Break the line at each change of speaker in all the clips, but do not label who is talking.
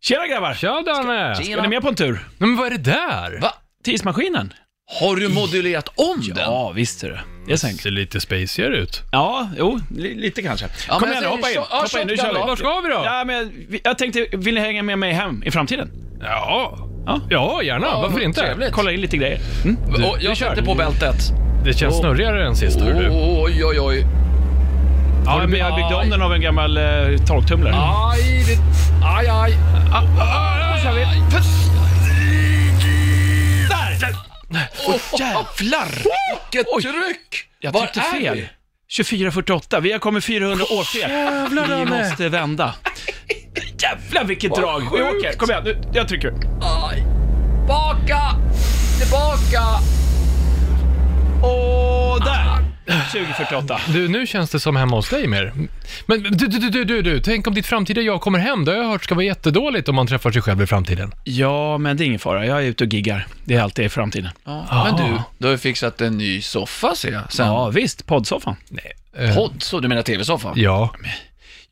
Tjena grabbar!
Tja Danne!
Är ni med på en tur?
Nej, men vad är det där?
Va?
Tidsmaskinen?
Har du modulerat om den?
Ja, visst är det. Det är sänkt.
Ser lite spacigare ut.
Ja, jo, li lite kanske.
Ja,
Kom
men
igen nu,
jag
hoppa in.
säger tjo-
Hoppa
ja,
in, nu
tjocka
kör
Var
vi.
ska vi då?
Ja, men vi- jag tänkte, vill ni hänga med mig hem i framtiden?
Ja.
Ja.
Ja, gärna. Varför
vad
inte?
trevligt.
Kolla in lite grejer. Mm?
Och jag sätter på bältet.
Det känns
Åh.
snurrigare än sist, hör du.
Oj, oj, oj.
Ja, men jag byggde om den av en gammal eh, torktumlare.
Aj, det... Aj, aj. ah,
Då kör vi. Där!
Åh, jävlar! Vilket tryck!
Jag
Var
tryckte
är
fel.
vi?
24.48, vi har kommit 400 år fel.
jävlar,
vi
Danne.
måste vända. Jävlar vilket drag! Vi
sjukt.
åker, kom igen, nu, jag trycker.
Aj. Baka! Tillbaka!
Och där! 20.48.
Du, nu känns det som hemma hos dig mer. Men du, du, du, du, du, du, tänk om ditt framtida jag kommer hem. Det har jag hört ska vara jättedåligt om man träffar sig själv i framtiden.
Ja, men det är ingen fara, jag är ute och giggar. Det är alltid i framtiden.
Ja, men du, du har ju fixat en ny soffa ser jag. Sen.
Ja, visst, poddsoffan.
Eh,
Podd, så du menar tv-soffa?
Ja.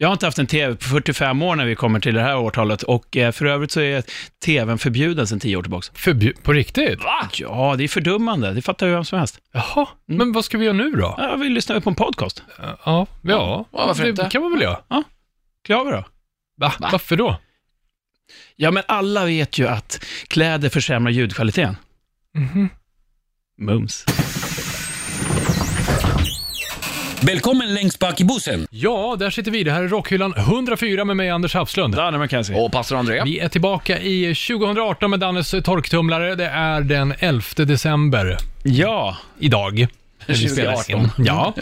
Jag har inte haft en TV på 45 år när vi kommer till det här årtalet och eh, för övrigt så är TVn förbjuden sedan 10 år tillbaka.
Förbjud... På riktigt?
Va? Ja, det är fördummande, det fattar ju vem som helst.
Jaha. Men vad ska vi göra nu då?
Ja, vi lyssnar ju på en podcast.
Ja, ja.
Ja, varför
det
inte?
kan man väl göra?
Klarar vi då?
Va?
Va?
Varför då?
Ja, men alla vet ju att kläder försämrar ljudkvaliteten. Mums.
Välkommen längst bak i bussen.
Ja, där sitter vi. Det här är Rockhyllan 104 med mig, Anders Hafslund.
Danne McKenzie.
Och pastor André?
Vi är tillbaka i 2018 med Dannes torktumlare. Det är den 11 december
Ja,
idag. När vi
2018.
spelar in.
Mm.
Ja.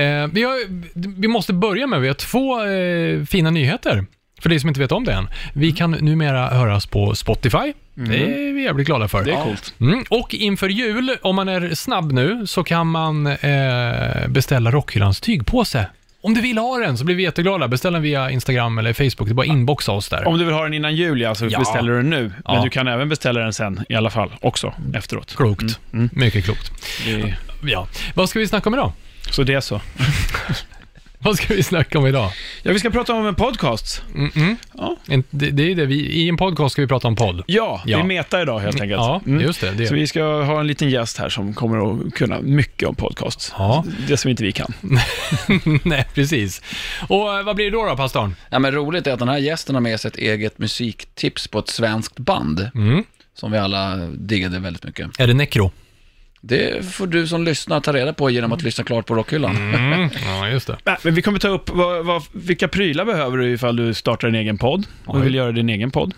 Eh, vi, har, vi måste börja med, vi har två eh, fina nyheter. För dig som inte vet om det än. Vi
Mm.
kan numera höras på Spotify. Det är vi jävligt glada för.
det är coolt.
Mm. Och inför jul, om man är snabb nu, så kan man eh, beställa Rockhyllans tygpåse. Om du vill ha den så blir vi jätteglada. Beställ den via Instagram eller Facebook. Det är bara att inboxa oss där.
Om du vill ha den innan jul, ja, så
Ja.
beställer du den nu. Men
Ja.
du kan även beställa den sen i alla fall, också, efteråt.
Klokt. Mycket klokt.
Mm. Det-
Ja. Vad ska vi snacka om idag?
Så det är så.
Vad ska vi snacka om idag?
Ja, vi ska prata om en podcast.
Mm-mm.
Ja.
En- Det, det är det vi, I en podcast ska vi prata om podd.
Ja, det
Ja.
är meta idag helt enkelt.
Ja,
Mm.
just det. det.
Så vi ska ha en liten gäst här som kommer att kunna mycket om podcasts.
Ja.
Det som inte vi kan.
Nej, precis. Och eh, vad blir det då, då pastorn?
Ja, men roligt är att den här gästen har med sig ett eget musiktips på ett svenskt band. Som vi alla diggade väldigt mycket.
Mm. Är det Necro?
Det får du som lyssnar ta reda på genom att lyssna klart på Rockhyllan.
Mm. Ja, just det.
Nej, Men vi kommer ta upp vad, vad, vilka prylar behöver du ifall du startar en egen podd och vill göra din egen podd.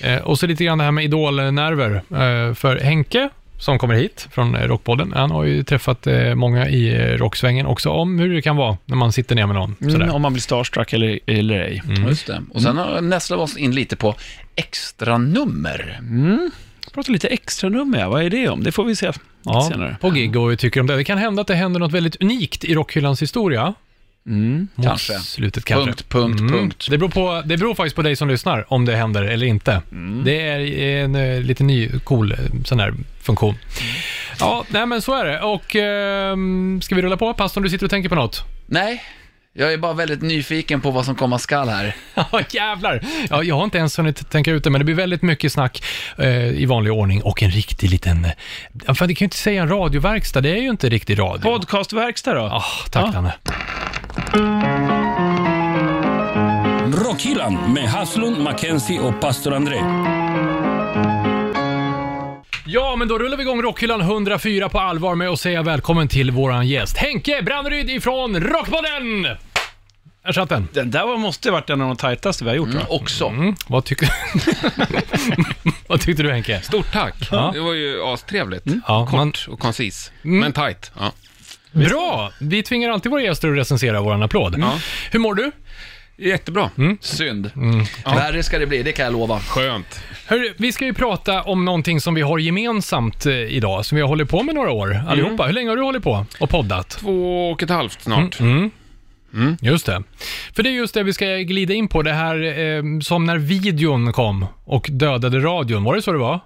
Eh, och så lite grann det här med idolnerver. Eh, för Henke, som kommer hit från eh, Rockpodden, han har ju träffat eh, många i eh, rocksvängen också om hur det kan vara när man sitter ner med någon. Sådär.
Mm, om man blir starstruck eller, eller ej.
Just det. Och
Mm.
sen har- nästlar vi oss in lite på extra nummer.
Prata lite extra nummer, ja. vad är det om? Det får vi se
Ja,
senare.
på gig och vad vi tycker om det. Det kan hända att det händer något väldigt unikt i Rockhyllans historia.
Mm.
Mot
Kanske.
Slutet kanske.
Punkt, punkt,
Mm.
punkt.
Mm. Det beror, på, det beror faktiskt på dig som lyssnar om det händer eller inte.
Mm.
Det är en eh, lite ny cool eh, sån här funktion. Ja, nej men så är det. Och ehm, ska vi rulla på? Pastorn, du sitter och tänker på något?
Nej, jag är bara väldigt nyfiken på vad som komma skall här.
Ja, jävlar. Ja, jag har inte ens hunnit tänka ut det, men det blir väldigt mycket snack eh, i vanlig ordning och en riktig liten... eh, Ja, Fan, det kan ju inte säga en radioverkstad, det är ju inte riktig radio.
Podcastverkstad då?
Ah, tack
Ja.
Danne.
Rockhyllan med Haslund, Mackenzie och pastor André.
Ja, men då rullar vi igång Rockhyllan 104 på allvar med att säga välkommen till våran gäst Henke Branneryd ifrån Rockpodden! Där satt den.
Den där var, måste varit en av de tajtaste vi har gjort, va?
Också.
Mm, vad, tyck... vad tyckte du Henke?
Stort tack.
Ja.
Det var ju astrevligt.
Mm.
Ja, man-
Kort och koncis, men tajt. Ja.
Bra! Vi tvingar alltid våra gäster att recensera våran applåd. Hur mår du?
Jättebra.
Synd. Värre ska det bli, det kan jag lova.
Mm. Skönt.
Hörru, vi ska ju prata om någonting som vi har gemensamt eh, idag, som vi har hållit på med några år allihopa. Hur länge har du hållit på och poddat? Mm,
Två och ett halvt snart.
Just det. För det är just det vi ska glida in på, det här eh, som när videon kom och dödade radion. Var det så det var?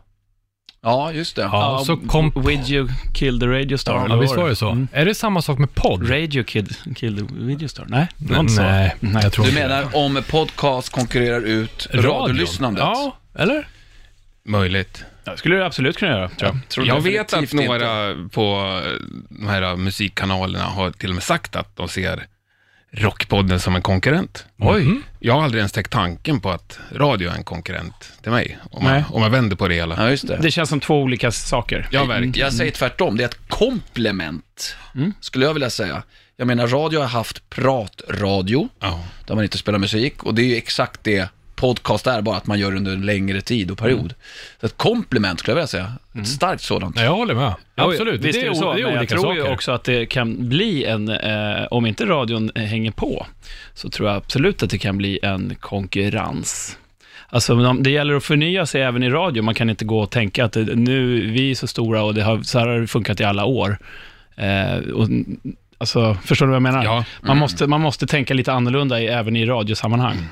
Ja, just det.
Ja, så kom...
With you kill the radio star. eller
Ja,
vad Mm.
visst var det så. Är det samma sak med podd?
Radio kid, kill the radio star? Nej, det var
Nej,
inte så.
nej, jag tror
Du
inte det.
menar om podcast konkurrerar ut
Radion?
radiolyssnandet?
Ja, eller?
Möjligt.
Ja, det skulle du absolut kunna göra, tror jag.
Tror
Jag vet
definitivt
att några på de här äh, musikkanalerna har till och med sagt att de ser Rockpodden som en konkurrent.
Mhm.
Jag har aldrig ens täckt tanken på att radio är en konkurrent till mig, om, man,
Nej.
om man vänder på det hela.
Ja, just det.
Det känns som två olika saker.
Ja, verkligen.
Mm.
Mm.
Jag säger tvärtom, det är ett komplement, skulle jag vilja säga. Jag menar, radio har haft pratradio,
Ja.
där man inte spelar musik, och det är ju exakt det podcast är, bara att man gör det under en längre tid och
Mm.
period. Så ett komplement skulle jag vilja säga, ett starkt sådant.
Nej, jag håller med. Absolut,
Visst
det, är,
det så,
o- det
men
är
jag
olika
tror
saker.
ju också att det kan bli en, eh, om inte radion eh, hänger på, så tror jag absolut att det kan bli en konkurrens. Alltså, men om- det gäller att förnya sig även i radio. Man kan inte gå och tänka att eh, nu, vi är så stora och det har, så här har det funkat i alla år. Eh, och, alltså, förstår du vad jag menar?
Ja.
Man,
Mm.
måste, man måste tänka lite annorlunda i, även i radiosammanhang.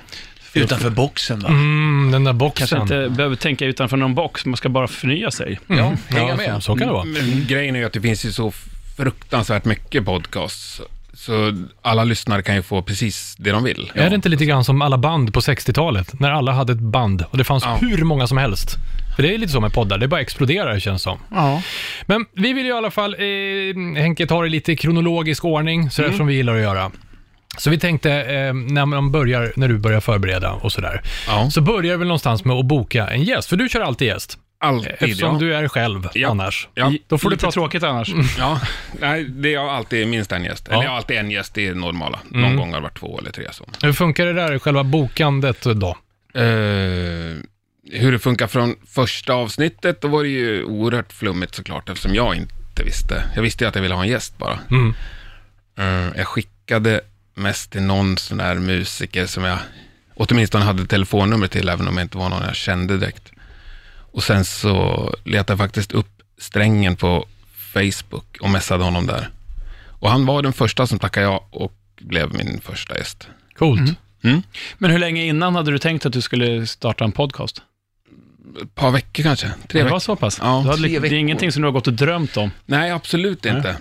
Utanför boxen va?
Mm, den där
Kanske
boxen.
inte behöver tänka utanför någon box, man ska bara förnya sig.
Ja, hänga
ja, så,
med.
så kan det vara.
Mm, Men grejen är ju att det finns ju så fruktansvärt mycket podcasts, så alla lyssnare kan ju få precis det de vill.
Är det inte lite grann som alla band på 60-talet? När alla hade ett band och det fanns
Ja.
hur många som helst. För det är lite så med poddar, det bara exploderar känns som.
Ja.
Men vi vill ju i alla fall, eh, Henke, ta det lite i kronologisk ordning, sådär
Mm.
som vi gillar att göra. Så vi tänkte, eh, när, man börjar, när du börjar förbereda och sådär,
Ja.
så börjar vi väl någonstans med att boka en gäst, för du kör alltid gäst.
Alltid,
Eftersom
ja.
du är själv
Ja.
annars.
Ja.
Då får du
lite
prata...
tråkigt annars.
Ja, nej, det är alltid minst en gäst. Eller jag har alltid en gäst, det är det normala. Någon gång har det varit två eller tre. Så.
Hur funkar det där, själva bokandet då?
Eh, hur det funkar från första avsnittet, då var det ju oerhört flummigt såklart, eftersom jag inte visste. Jag visste ju att jag ville ha en gäst bara.
Mm.
Eh, jag skickade mest till någon sån där musiker som jag åtminstone hade telefonnummer till, även om jag inte var någon jag kände direkt. Och sen så letade jag faktiskt upp strängen på Facebook och messade honom där. Och han var den första som tackade ja och blev min första gäst.
Coolt.
Mm.
Men hur länge innan hade du tänkt att du skulle starta en podcast?
Ett par veckor kanske, tre
det
veckor.
var så pass?
Ja,
du hade,
tre
liksom- det
veckor.
är ingenting som du har gått och drömt om?
Nej, absolut inte.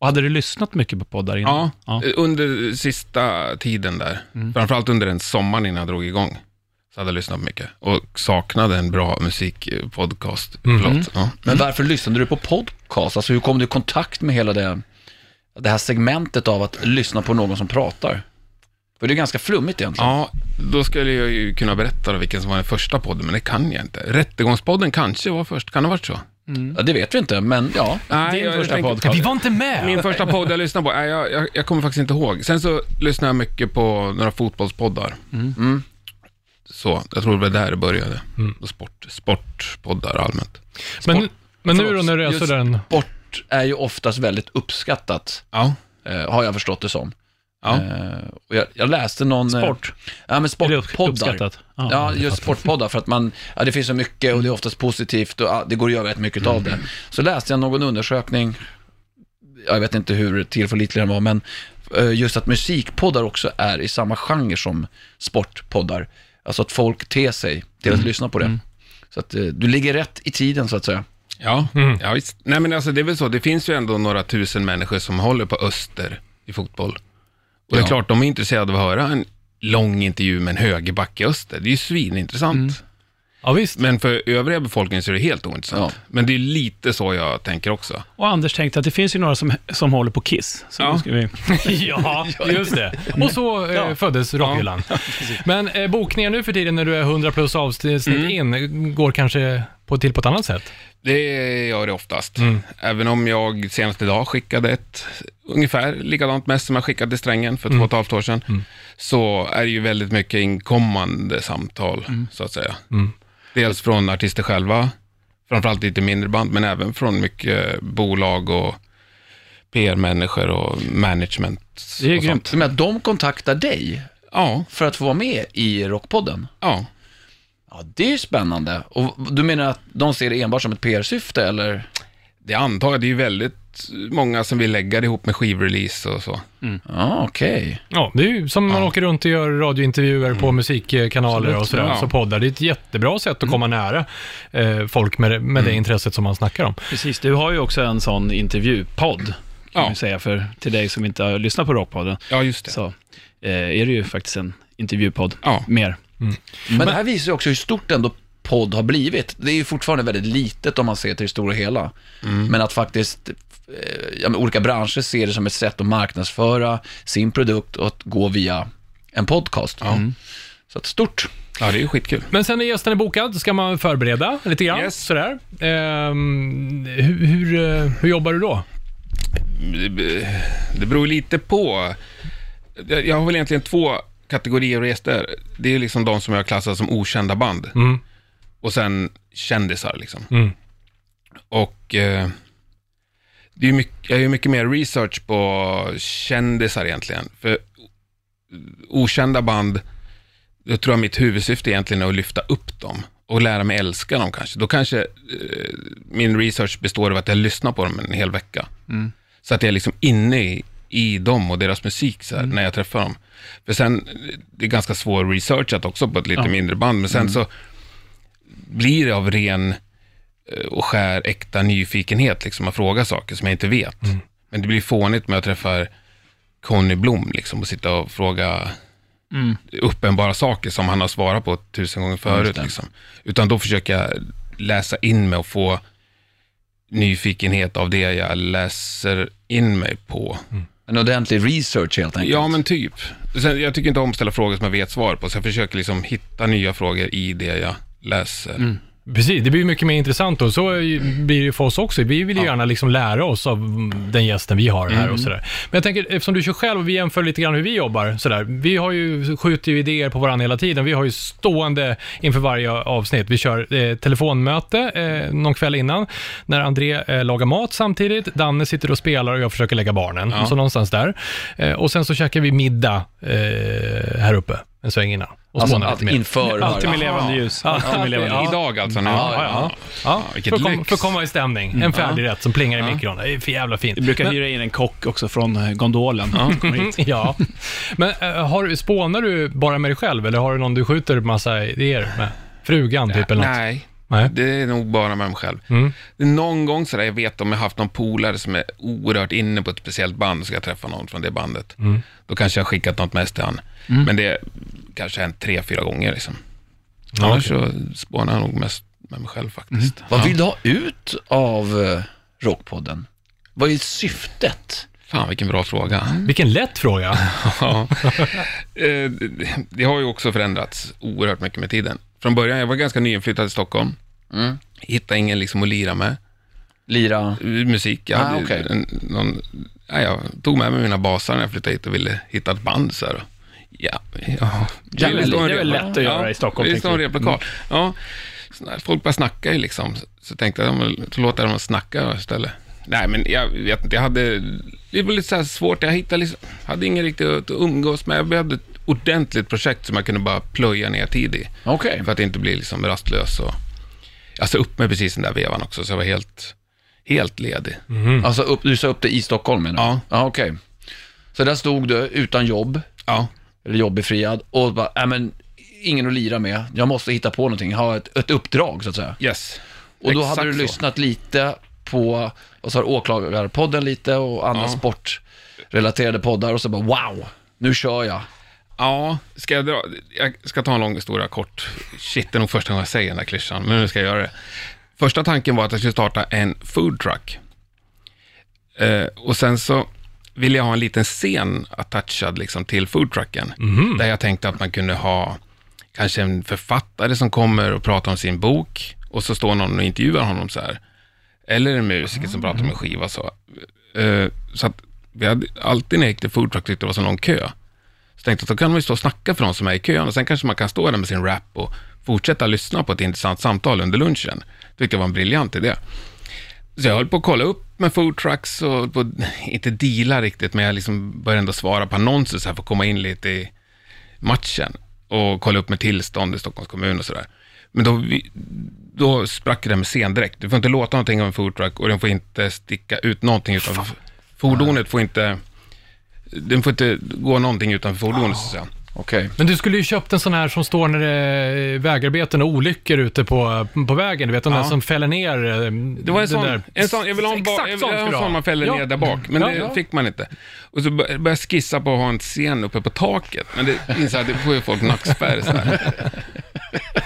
Och hade du lyssnat mycket på poddar innan?
Ja, Eh, under sista tiden där. Framförallt under den sommaren innan jag drog igång. Så hade jag lyssnat mycket och saknade en bra musikpodcast. Förlåt. Ja.
Men varför lyssnade du på podcast? Alltså hur kom du i kontakt med hela det, det här segmentet av att lyssna på någon som pratar? För det är ganska flummigt egentligen.
ja, då skulle jag ju kunna berätta då vilken som var den första podden, men det kan jag inte. Rättegångspodden kanske var först, kan det ha varit så?
Ja, det vet vi inte, men ja.
Nej,
Din
jag
första
tänker-
podcast.
Ja, vi var inte med!
Min första podd jag lyssnade på, nej, jag, jag, jag kommer faktiskt inte ihåg. Sen så lyssnade jag mycket på några fotbollspoddar.
Mm.
Så, jag tror det var där det började. Och sport, sportpoddar allmänt.
Men, men nu då när du är
Just
sådär en...
Sport är ju oftast väldigt uppskattat,
Ja.
eh, har jag förstått det som.
Ja.
Eh, och jag, jag läste någon... eh,
Sport?
Ja, men
Är det upp-
sportpoddar.
uppskattat?
Ja, just sportpoddar för att man, ja, det finns så mycket och det är oftast positivt och ja, det går att göra rätt mycket av
Mm.
det. Så läste jag någon undersökning, jag vet inte hur tillförlitlig den var, men eh, just att musikpoddar också är i samma genre som sportpoddar. Alltså att folk ter sig till
Mm.
att lyssna på det. Så att eh, du ligger rätt i tiden så att säga.
Ja,
Mm.
ja visst. Nej men alltså det är väl så, det finns ju ändå några tusen människor som håller på Öster i fotboll. Och det är
Ja.
klart, de är intresserade av att höra en lång intervju med en högerback i Öster. Det är ju svinintressant.
Mm.
Ja, visst.
Men för övriga befolkningen så är det helt ointressant.
Ja.
Men det är lite så jag tänker också.
Och Anders tänkte att det finns ju några som, som håller på Kiss. Så
Ja.
då ska vi...
Ja, just det. Och så eh, föddes rockhyllan. Men eh, bokningar nu för tiden när du är 100 plus avsnitt in går kanske på, till på ett annat sätt.
Det gör det oftast. Även om jag senast idag skickade ett ungefär likadant mest som jag skickade till strängen för två och ett halvt år sedan, så är det ju väldigt mycket inkommande samtal, så att säga. Dels från artister själva, framförallt lite mindre band, men även från mycket bolag och PR-människor och management.
Det är ju
och sånt.
grymt.
Så med att de kontaktar dig
Ja,
för att få vara med i Rockpodden.
ja.
Ja, det är ju spännande. Och du menar att de ser det enbart som ett PR-syfte eller?
Det antar jag, det är ju väldigt rätt många som vill lägga det ihop med skivrelease och så.
Ja, okej.
Ja, det är ju som man åker runt och gör radiointervjuer på musikkanaler och sådär,
ja.
så poddar. Det är ett jättebra sätt att komma nära eh, folk med, det- med det intresset som man snackar om.
Precis, du har ju också en sån intervjupodd, kan
Ja.
vi säga, för, till dig som inte har lyssnat på Rockpodden.
Ja, just det.
Så eh, är det ju faktiskt en intervjupodd
Ja.
mer.
Men det här visar ju också hur stort ändå podd har blivit. Det är ju fortfarande väldigt litet om man ser till det stora hela. Men att faktiskt eh, ja, men olika branscher ser det som ett sätt att marknadsföra sin produkt och att gå via en podcast. Så att stort.
Ja, det är ju skitkul.
Men sen när gästen är bokad ska man förbereda lite grann.
Yes.
Sådär. Ehm, hur, hur, eh, hur jobbar du då?
Det- Det beror ju lite på. Jag jag har väl egentligen två kategorier av gäster. Det är ju liksom de som jag klassar som okända band.
Mm.
Och sen kändisar liksom.
Mm.
Och eh, det är ju mycket, jag gör ju mycket mer research på kändisar egentligen. För okända band, jag tror att mitt huvudsyfte egentligen är att lyfta upp dem och lära mig älska dem kanske. Då kanske eh, min research består av att jag lyssnar på dem en hel vecka. Så att jag är liksom inne i, i dem och deras musik så här, när jag träffar dem. För sen, eh, det är ganska svår researchat också på ett lite mindre band, men sen så blir det av ren eh, och skär äkta nyfikenhet, liksom att fråga saker som jag inte vet.
Mm.
Men det blir fånigt med att träffa Conny Blom liksom, och sitta och fråga
Mm.
uppenbara saker som han har svarat på tusen gånger förut. Liksom. Utan då försöker jag läsa in mig och få nyfikenhet av det jag läser in mig på.
En ordentlig research helt enkelt.
Ja, men typ. Sen, jag tycker inte om att ställa frågor som jag vet svar på, så jag försöker liksom hitta nya frågor i det jag läser.
Mm.
Precis, det blir mycket mer intressant och så är ju- blir det ju för oss också. Vi vill ju gärna liksom lära oss av mm, den gästen vi har här
Mm.
och sådär. Men jag tänker, eftersom du kör själv och vi jämför lite grann hur vi jobbar sådär. Vi har ju, skjuter ju idéer på varandra hela tiden. Vi har ju stående inför varje avsnitt. Vi kör eh, telefonmöte eh, någon kväll innan när André eh, lagar mat samtidigt. Danne sitter och spelar och jag försöker lägga barnen. Så någonstans där. Eh, och sen så käkar vi middag eh, här uppe en sväng innan. Och
alltså att
spånar lite mer.
inför
Alltid med
varje.
levande ljus. Alltid med levande ljus.
Idag alltså, nu.
Ja, ja.
Ja,
vilket
för, att komma,
lyx.
för att komma i stämning. En färdig rätt som plingar i mikron. Det är för jävla fint.
Vi brukar hyra in en kock också från eh, Gondolen. Kommer hit.
Ja. Men äh, har, du- spånar du bara med dig själv eller har du någon du skjuter massa idéer med? Frugan typ eller något? Mm.
Nej,
Nej.
det är nog bara med mig själv. Någon gång sådär, jag vet om jag haft någon polare som är oerhört inne på ett speciellt band och ska jag träffa någon från det bandet.
Mm.
Då kanske jag har skickat något mest till han. Men det kanske har hänt tre, fyra gånger liksom. Annars så spånar jag nog mest med mig själv faktiskt.
Vad vill du ha ut av eh, Rockpodden? Vad är syftet?
Fan vilken bra fråga.
Vilken lätt fråga.
Ja. Eh, det har ju också förändrats oerhört mycket med tiden. Från början, jag var ganska nyinflyttad i Stockholm.
Mm.
Hittade ingen liksom att lira med.
Lira?
musik. Jag,
Ah,
hade ju
okej.
en, någon, ja, jag tog med mig mina basar när jag flyttade hit och ville hitta ett band. Så här. Ja, ja.
Det är väl-
står en
det är väl
repla-
lätt att göra i Stockholm,
Det står en
tänker vi.
replokal. Ja, Så när folk bara snackar ju liksom. Så, så tänkte jag, ja, men så låter jag dem snacka istället. Nej, men jag vet inte. Jag hade, det var lite så här svårt. Jag hittade liksom, hade ingen riktigt att umgås med. Jag behövde ett ordentligt projekt som jag kunde bara plöja ner tid i.
Okej.
För att inte bli liksom rastlös. Och, alltså upp med precis den där vevan också, så jag var helt, helt ledig.
Alltså upp, du sa upp det i Stockholm menar du?
Ja.
Ja, okej. Så där stod du utan jobb,
Ja,
eller jobbefriad, och bara, nej men, ingen att lira med. Jag måste hitta på någonting, ha ett, ett uppdrag så att säga.
yes.
Och då
Exakt
hade du
så.
lyssnat lite på, och så har åklagarpodden lite och andra
Ja.
sportrelaterade poddar och så bara wow, nu kör jag.
Ja, ska jag dra? Jag ska ta en lång historia kort. Shit, det är nog första gången jag säger den här klyschan, men nu ska jag göra det. Första tanken var att jag skulle starta en food truck. Eh, och sen så ville jag ha en liten scen attachad liksom till foodtrucken. Där jag tänkte att man kunde ha kanske en författare som kommer och pratar om sin bok och så står någon och intervjuar honom så här. Eller en musiker som pratar om en skiva så. Eh, så att vi hade alltid när jag gick till foodtruck tyckte det var så lång kö. Så tänkte jag att då kan man ju stå och snacka för de som är i kön och sen kanske man kan stå där med sin rap och fortsätta lyssna på ett intressant samtal under lunchen. Tyckte jag var en briljant idé. Så jag höll på att kolla upp med food trucks och höll på, att- inte deala riktigt, men jag liksom började ändå svara på annonser så här för att komma in lite i matchen och kolla upp med tillstånd i Stockholms kommun och sådär. Men då, vi- då sprack det här med scendräkt. Du får inte låta någonting av en foodtruck och den får inte sticka ut någonting utanför fordonet. får inte... Den får inte gå någonting utanför fordonet, så att säga.
Okej.
Men du skulle ju köpt en sån här som står när det är vägarbeten och olyckor ute på, på vägen. Du vet, den där
Ja.
som fäller ner. eh,
Det var en
den
sån,
där-
en sån, jag vill ha en, ba,
Exakt
jag vill
sån
ha
skulle
en
du ha.
sån man fäller
Ja.
ner där bak, men
Ja,
det
ja.
fick man inte. Och så bör- började jag skissa på att ha en scen uppe på taket, men det inser jag att det får ju folk nackspärr. så här.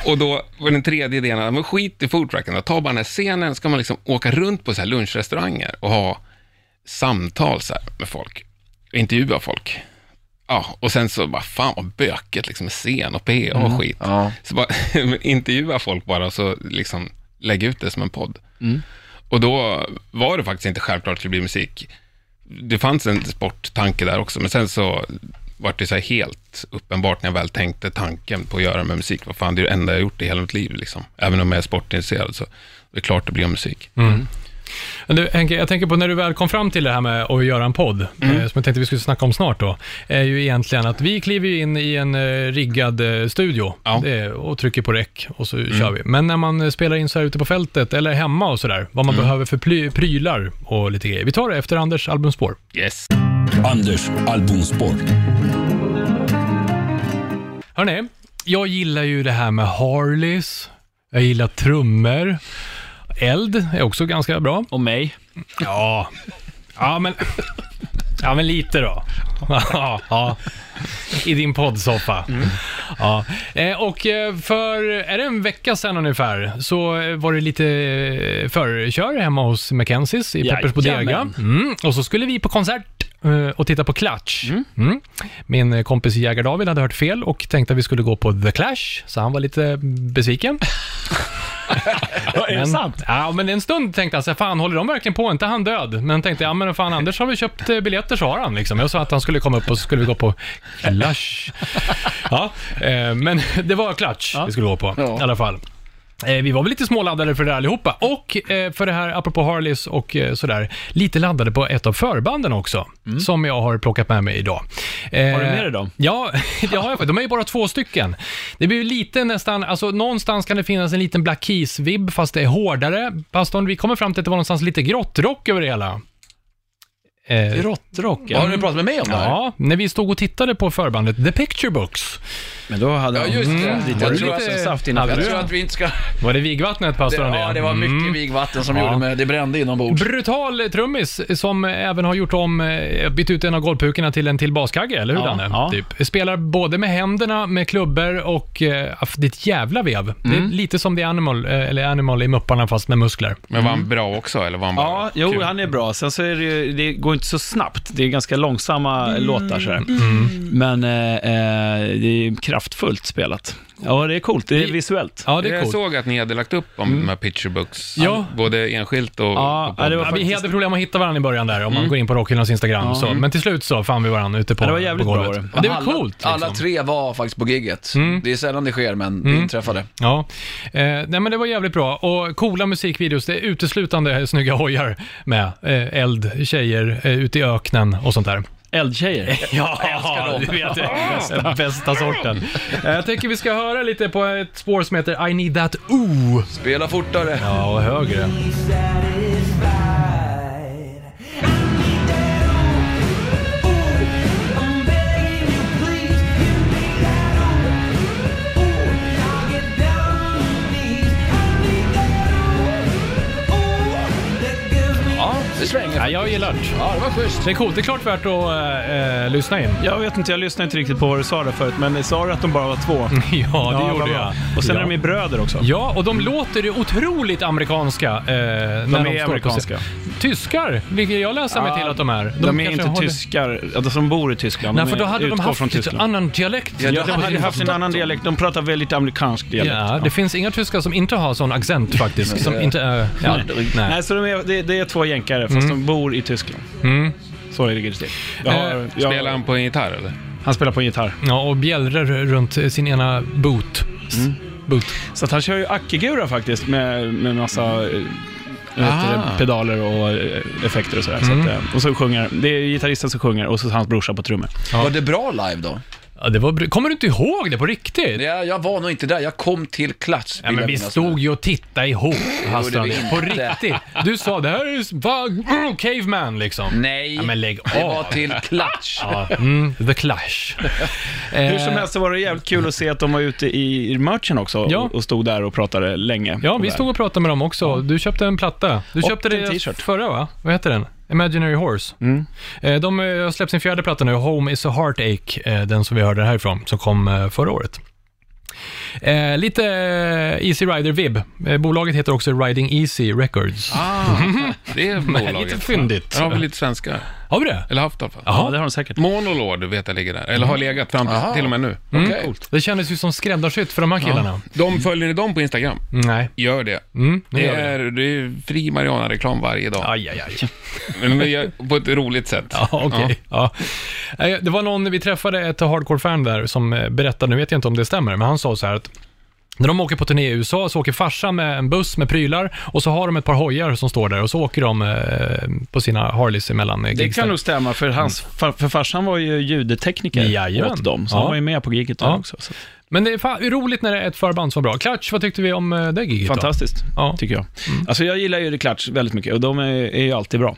Och då var den tredje idén, att, men skit i foodtrucken då, ta bara den här scenen, ska man liksom åka runt på så här lunchrestauranger och ha samtal så här med folk, och intervjua folk. Ja, och sen så bara, fan vad bökigt liksom med scen och PA och
Mm.
skit.
Ja.
Så bara intervjua folk bara och så liksom lägga ut det som en podd. Och då var det faktiskt inte självklart att det blir musik. Det fanns en sporttanke där också, men sen så var det så här helt uppenbart när jag väl tänkte tanken på att göra med musik. Vad fan, det är det enda jag gjort i hela mitt liv liksom. Även om jag är sportintresserad så det är klart det blir musik.
Mm. Men du, Henke, jag tänker på när du väl kom fram till det här med att göra en podd, eh, som jag tänkte vi skulle snacka om snart då, är ju egentligen att vi kliver ju in i en eh, riggad eh, studio
Ja.
det, är- och trycker på räck och så kör vi. Men när man eh, spelar in så här ute på fältet eller hemma och sådär, vad man behöver för ply- prylar och lite grejer. Vi tar det efter Anders albumspår.
Yes.
Anders albumspår.
Hörrni, jag gillar ju det här med Harleys, jag gillar trummor, eld är också ganska bra.
Och mig.
Ja. Ja, men... Ja, men lite då. Ja, ja. I din poddsoffa. Ja. Eh, Och eh, för, är det en vecka sedan ungefär, så eh, var det lite eh, förkör hemma hos Mackenzies i Peppers Bodega.
Jajamän.
Mm. Och så skulle vi på koncert eh, och titta på Clutch. Mm. Min eh, kompis Jägar-David hade hört fel och tänkte att vi skulle gå på The Clash, så han var lite besviken.
Är det
Men-
sant?
Ja, men en stund tänkte jag så här, fan håller de verkligen på? Inte han död? Men tänkte jag, ja, men fan Anders har vi köpt eh, biljetter så har han liksom. Jag sa att han skulle komma upp och så skulle vi gå på Clash. Ja, eh, men det var Clutch vi skulle gå på i alla fall. Eh, Vi var väl lite småladdade för det där allihopa. Och eh, för det här, apropå Harleys och eh, sådär, lite laddade på ett av förbanden också, som jag har plockat med mig idag.
Mm.
Eh,
Har du med dig dem?
Ja, det har jag. faktiskt. De är ju bara två stycken. Det blir ju lite nästan, alltså någonstans kan det finnas en liten Black Keys-vibb, fast det är hårdare. Pastorn, vi kommer fram till att det var någonstans lite grottrock över det hela. Eh,
Råttrock,
Har
ja. Mm.
du pratat med mig om det här?
ja, när vi stod och tittade på förbandet The Picture Books.
Men då hade
Ja,
han-
just det.
Mm,
Jag
lite
tror
rosa
att-
saft
Ja,
innanför.
Jag
du-
tror att vi inte ska...
Var det vigvattnet,
Det,
pastorn?
ja, det var
Mm.
mycket vigvatten som gjorde mig... Det brände inombords.
Brutal trummis som även har gjort om, eh, bytt ut en av golvpukorna till en till baskagge, eller hur
Ja,
Danne?
ja.
Typ. Spelar både med händerna, med klubbor och eh, aff, det är ett jävla vev. Det
Mm.
är lite som The Animal, eh, eller Animal i Mupparna fast med muskler.
Men var han bra också, eller var han bara
Ja, jo,
kul?
han är bra. Sen så är det ju, det går inte så snabbt. Det är ganska långsamma
Mm.
låtar sådär. Men eh, eh, det är kraftfullt spelat. Ja, det är coolt. Det är visuellt.
Ja, det är
jag
coolt. Mm.
såg att ni hade lagt upp om de här picture books,
Ja.
både enskilt och
Ja,
på podden.
det var
Ja, vi hade problem att hitta varandra i början där, om man går in på Rockhyllans Instagram. Så. Men till slut så fann vi varandra ute på
Mm. Ja, det var jävligt
på
bra
golvet.
var det.
Ja, det var
alla,
coolt. liksom. Mm.
Alla tre var faktiskt på gigget. Det är sällan det sker, men det inträffade.
Ja, eh, nej men det var jävligt bra. Och coola musikvideos, det är uteslutande snygga hojar med eh, eld, tjejer eh, ute i öknen och sånt där.
Eldtjejer.
Ja, jag älskar dem. Du vet, det är bästa, bästa sorten. Eh, Jag tänker vi ska höra lite på ett spår som heter I need that ooh.
Spela fortare.
Ja, och högre.
satisfied. I need that ooh, ooh. I'm begging you, please. Give me that ooh, ooh. I'll get down on my knees. I need that ooh, ooh. That gives me
Ja, det svänger.
Ja, jag gillar det.
Ja, det var schysst.
Det är coolt, det är klart värt att eh, eh, lyssna in.
Jag vet inte, jag lyssnade inte riktigt på vad du sa där förut, men sa du att de bara var två?
Ja, det
vad
gjorde
bra.
jag.
Och sen
ja.
är de ju bröder också.
Ja, och de låter ju otroligt amerikanska eh, när de,
är
står på scen.
amerikanska.
Tyskar, vilket jag läser mig
Ja,
till att de är.
De, är
kanske
inte
har det-
tyskar, alltså de bor i Tyskland.
Nej,
de
för då
är-
hade de
utgår
haft
från
lite
Tyskland.
annan dialekt.
Ja,
Ja, de hade
hade
haft en
förstått
annan
dem.
dialekt. De pratar väldigt amerikansk dialekt.
Ja, det finns inga tyskar som inte har sån accent faktiskt. som inte är... Ja, nej.
Nej, så de är, det, det är två jänkare, fast
Mm.
de bor i Tyskland. Så är det givetvis. Jag har-
Eh,
jag-
Spelar han på en gitarr, eller?
han spelar på en gitarr.
Ja, och bjällrar runt sin ena boot.
Mm.
Boot.
Så att han kör ju Akigura faktiskt med, med massa eh, vad heter det,
Ah.
pedaler och eh, effekter
Mm.
och sådär. Så att, eh, och så sjunger, det är gitarristen som sjunger och så hans brorsa på trummor.
Ja.
Var det bra live då?
Ja, det var br- Kommer du inte ihåg det på riktigt?
Ja, jag var nog inte där, jag kom till klats.
Ja,
vill
men
jag
vi
minnas.
stod ju och tittade ihop, Hassan.
vi
På
inte.
riktigt. Du sa det här är va, mm, caveman liksom.
Nej,
Ja, men lägg
det
av.
var till klatsch.
Ja, mm, the Clash. Eh,
Hur som helst så var det jävligt kul att se att de var ute i merchen också
Ja.
och, och stod där och pratade länge.
Ja, vi
Där.
stod och pratade med dem också. Du köpte en platta. Du
Och
köpte
en
det
t-shirt. Mm.
förra, va? Vad heter den? Imaginary Horse. Eh, De eh, har släppt sin fjärde platta nu, Home is a Heartache, eh, den som vi hörde härifrån, som kom eh, förra året. Eh, lite eh, Easy Rider-vibb. Eh, bolaget heter också Riding Easy Records.
Ah, det är
lite
bolaget.
fyndigt.
Där har vi lite svenska.
Har vi det?
Eller haft i alla fall.
Ja, det har de säkert.
Mm.
Monolord vet jag ligger där. Eller har legat fram
Aha.
till, till och med nu.
Okej.
Det kändes ju som skräddarsytt för de här Mm, killarna.
De följer ni dem på Instagram?
Nej.
Gör det.
Mm, nu
Det
gör vi det.
är, det är fri marijuana-reklam varje dag.
Aj, aj, aj.
Men vi gör på ett roligt sätt.
Ja, okej.
Ja.
Ja. Eh, Det var någon, vi träffade ett hardcore-fan där som eh, berättade, nu vet jag inte om det stämmer, men han sa så här att när de åker på turné i USA så åker farsan med en buss med prylar och så har de ett par hojar som står där och så åker de eh, på sina Harleys emellan eh,
Det
gigs
kan
där.
nog stämma, för, hans, för, för farsan var ju ljudtekniker
Jajamän.
åt dem, så
Ja.
han var ju med på giget där
Ja.
också. Så.
Men det är fan, roligt när det är ett förband som är bra. Klatsch, vad tyckte vi om eh, det giget då?
Fantastiskt,
Ja. Mm.
tycker jag. Alltså jag gillar ju The Clutch väldigt mycket och de är, är ju alltid bra.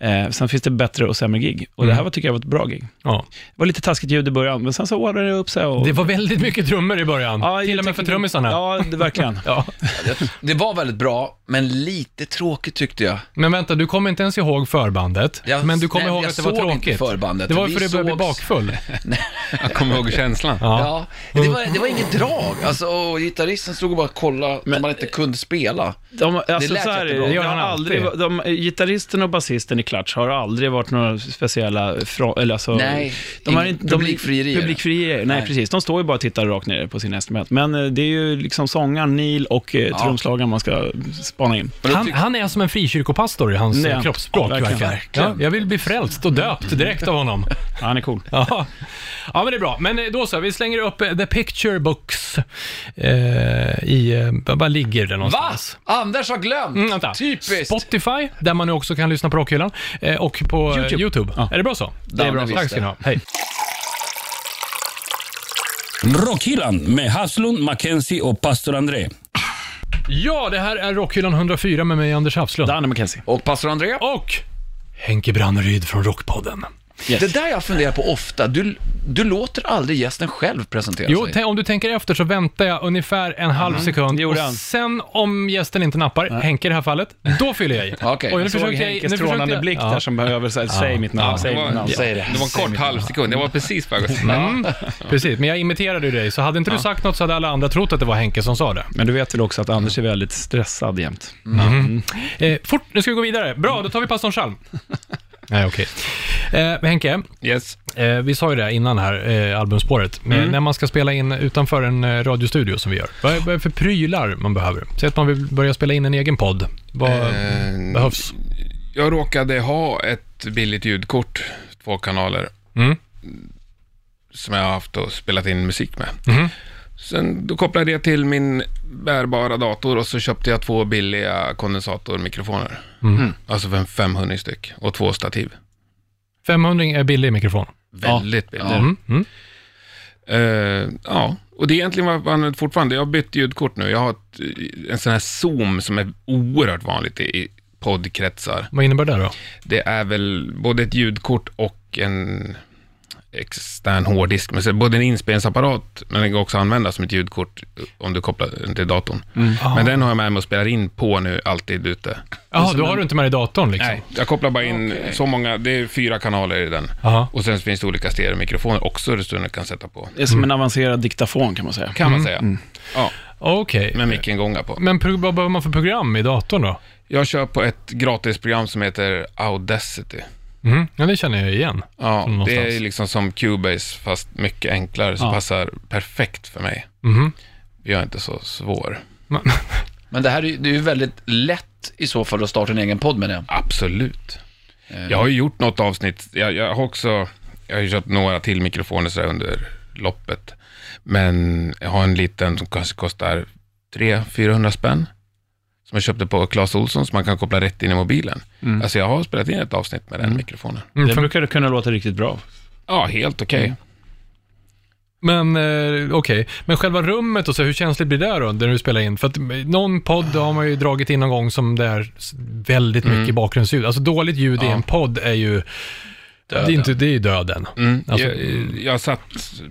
Eh, sen finns det bättre och sämre gig. Och
Mm.
det här var, tycker jag var ett bra gig.
Ja.
Det var lite taskigt ljud i början, men sen så ordnade det upp sig. Och...
Det var väldigt mycket trummor i början. Till och med för
tycker-
trummisarna.
Ja, det, verkligen.
Ja.
Det var väldigt bra, men lite tråkigt tyckte jag.
Men vänta, du kommer inte ens ihåg förbandet,
Jag-
men du kommer
nej,
ihåg
jag
att det var
såg inte
tråkigt.
förbandet.
Det var ju
Vi
för att du började bli
sågs-
bakfull.
Jag kommer ihåg känslan.
Ja. det, var,
Mm.
det var inget drag. Alltså, och gitarristen stod och bara kollade men, man inte kunde spela.
De, alltså,
lät
så här,
jättebra. Det
gör
har
han
aldrig,
alltid.
de, Gitarristen och basisten i Clutch har aldrig varit några speciella... Fra, eller alltså,
Nej,
de har
ingen-
inte, de,
publikfrierier.
publikfrierier, nej,
Nej.
precis. De står ju bara och tittar rakt ner på sina instrument. Men eh, det är ju liksom sångaren, Neil och eh, trumslagaren man ska spana in.
Han, han är som en frikyrkopastor i hans
Det är
eh,
han.
kroppsspråk.
Ja, verkligen.
verkligen.
Verkligen.
Ja, jag vill bli frälst och döpt direkt av honom.
Ja, han är cool.
Ja. ja, men det är bra. Men eh, då så, vi slänger upp eh, The Picture Books eh, i... Eh, bara ligger det
Va?
någonstans?
Anders har glömt!
Mm, vänta.
Typiskt!
Spotify, där man nu också kan lyssna på Rockhyllan, eh, och på eh,
YouTube.
YouTube.
Ja.
Är det bra så?
Det är bra.
Tack ska ni ha. Hej.
Rockhyllan med Haslund, Mackenzie och pastor André.
Ja, det här är Rockhyllan 104 med mig, Anders Hafslund.
Danne McKenzie.
Och pastor André?
Och Henke Branneryd från Rockpodden.
Det där jag funderar på ofta. Du, du låter aldrig gästen själv presentera
Jo,
sig.
tä- om du tänker efter så väntar jag ungefär en halv sekund.
Alltså, Mm. det gjorde han.
Och sen om gästen inte nappar, Henke i det här fallet, då fyller jag i.
Okej,
Oj, nu
jag
Såg
försökte
Henkes
nu försökte
trånande blick
ja.
där som behöver säga, säg mitt namn, säg
Det
mitt
var,
namn.
Säg det.
det var en kort halv sekund. Jag var precis på väg att säga.
Mm, precis, men jag imiterade ju dig, så hade inte du sagt något så hade alla andra trott att det var Henke som sa det.
Men du vet väl också att Anders är väldigt stressad jämt.
Eh, fort, nu ska vi gå vidare. Bra, då tar vi pastorn Chalm. Nej, okej. Eh, men Henke,
Yes.
eh, vi sa ju det innan här, eh, albumspåret. Men
Mm.
När man ska spela in utanför en eh, radiostudio som vi gör, vad är, vad är det för prylar man behöver? Säg att man vill börja spela in en egen podd. Vad
Eh,
behövs?
Jag råkade ha ett billigt ljudkort, två kanaler,
Mm.
som jag har haft och spelat in musik med.
Mm-hmm.
Sen då kopplade jag till min bärbara dator och så köpte jag två billiga kondensatormikrofoner.
Mm-hmm.
Alltså för en 500 styck och två stativ.
500 är billig mikrofon.
Väldigt billigt.
Ja.
Mm. Mm.
Eh, ja, och det är egentligen vad jag använder fortfarande. Jag har bytt ljudkort nu. Jag har ett, en sån här Zoom som är oerhört vanligt i i poddkretsar.
Vad innebär det då?
Det är väl både ett ljudkort och en extern hårddisk. Men så är det både en inspelningsapparat, men den går också att använda som ett ljudkort eh, om du kopplar den till datorn. Men den har jag med mig och spelar in på nu, alltid ute.
Jaha, då har du inte med dig datorn liksom?
Nej, jag kopplar bara in så många, det är fyra kanaler i den.
Jaha.
Och sen finns det olika stereomikrofoner också, så du kan sätta på.
Det är som en avancerad diktafon kan man säga.
Kan man säga. Ja,
Okej.
med micken-gångar på.
Men pro- vad behöver man för program i datorn då?
Jag kör på ett gratisprogram som heter Audacity.
Mm. Ja, det känner jag igen.
Ja,
Som
det
någonstans.
är liksom som Cubase fast mycket enklare, så
Ja.
passar perfekt för mig.
Mhm.
Jag är inte så svår.
Men det här är ju det är ju väldigt lätt i så fall att starta en egen podd Eh, med det.
Absolut. Jag har ju gjort något avsnitt, jag, jag har också, jag har ju köpt några till mikrofoner så här under loppet. Men jag har en liten som kanske kostar 300-400 spänn. Som jag köpte på Clas Ohlson som man kan koppla rätt in i mobilen. Alltså jag har spelat in ett avsnitt med den mikrofonen.
Mm,
Det
för,
brukar kunna låta riktigt bra.
Ja, helt okej.
Men eh, okej, men själva rummet och så, hur känsligt blir det då när du spelar in? För att eh, någon podd har man ju dragit in någon gång som det är s- väldigt mycket bakgrundsljud. Alltså dåligt ljud i en podd är ju, det är, inte, det är ju döden. Alltså,
Mm. jag, jag satt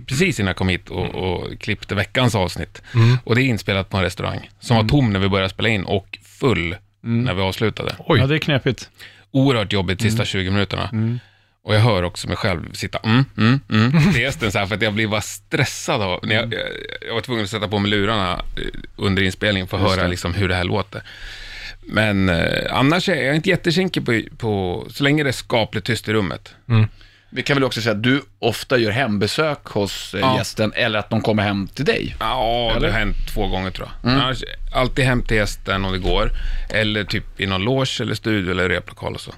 precis innan jag kom hit och, och klippte veckans avsnitt. Och det är inspelat på en restaurang som var tom när vi började spela in och full när vi avslutade.
Oj.
Ja, det är knepigt.
Oerhört jobbigt sista 20 minuterna. Och jag hör också mig själv sitta mm, mm, mm. Det är så här för att jag blir bara stressad av, när jag, jag, jag var tvungen att sätta på mig lurarna eh, under inspelningen för att höra liksom hur det här låter. Men eh, annars är jag inte jättekinkig på, på, så länge det är skapligt tyst i rummet.
Vi kan väl också säga att du ofta gör hembesök hos eh,
Ja.
gästen eller att de kommer hem till dig.
Ja, det
Eller?
har hänt två gånger tror jag. Annars, alltid hem till gästen om det går. Eller typ i någon loge eller studio eller replokal och så.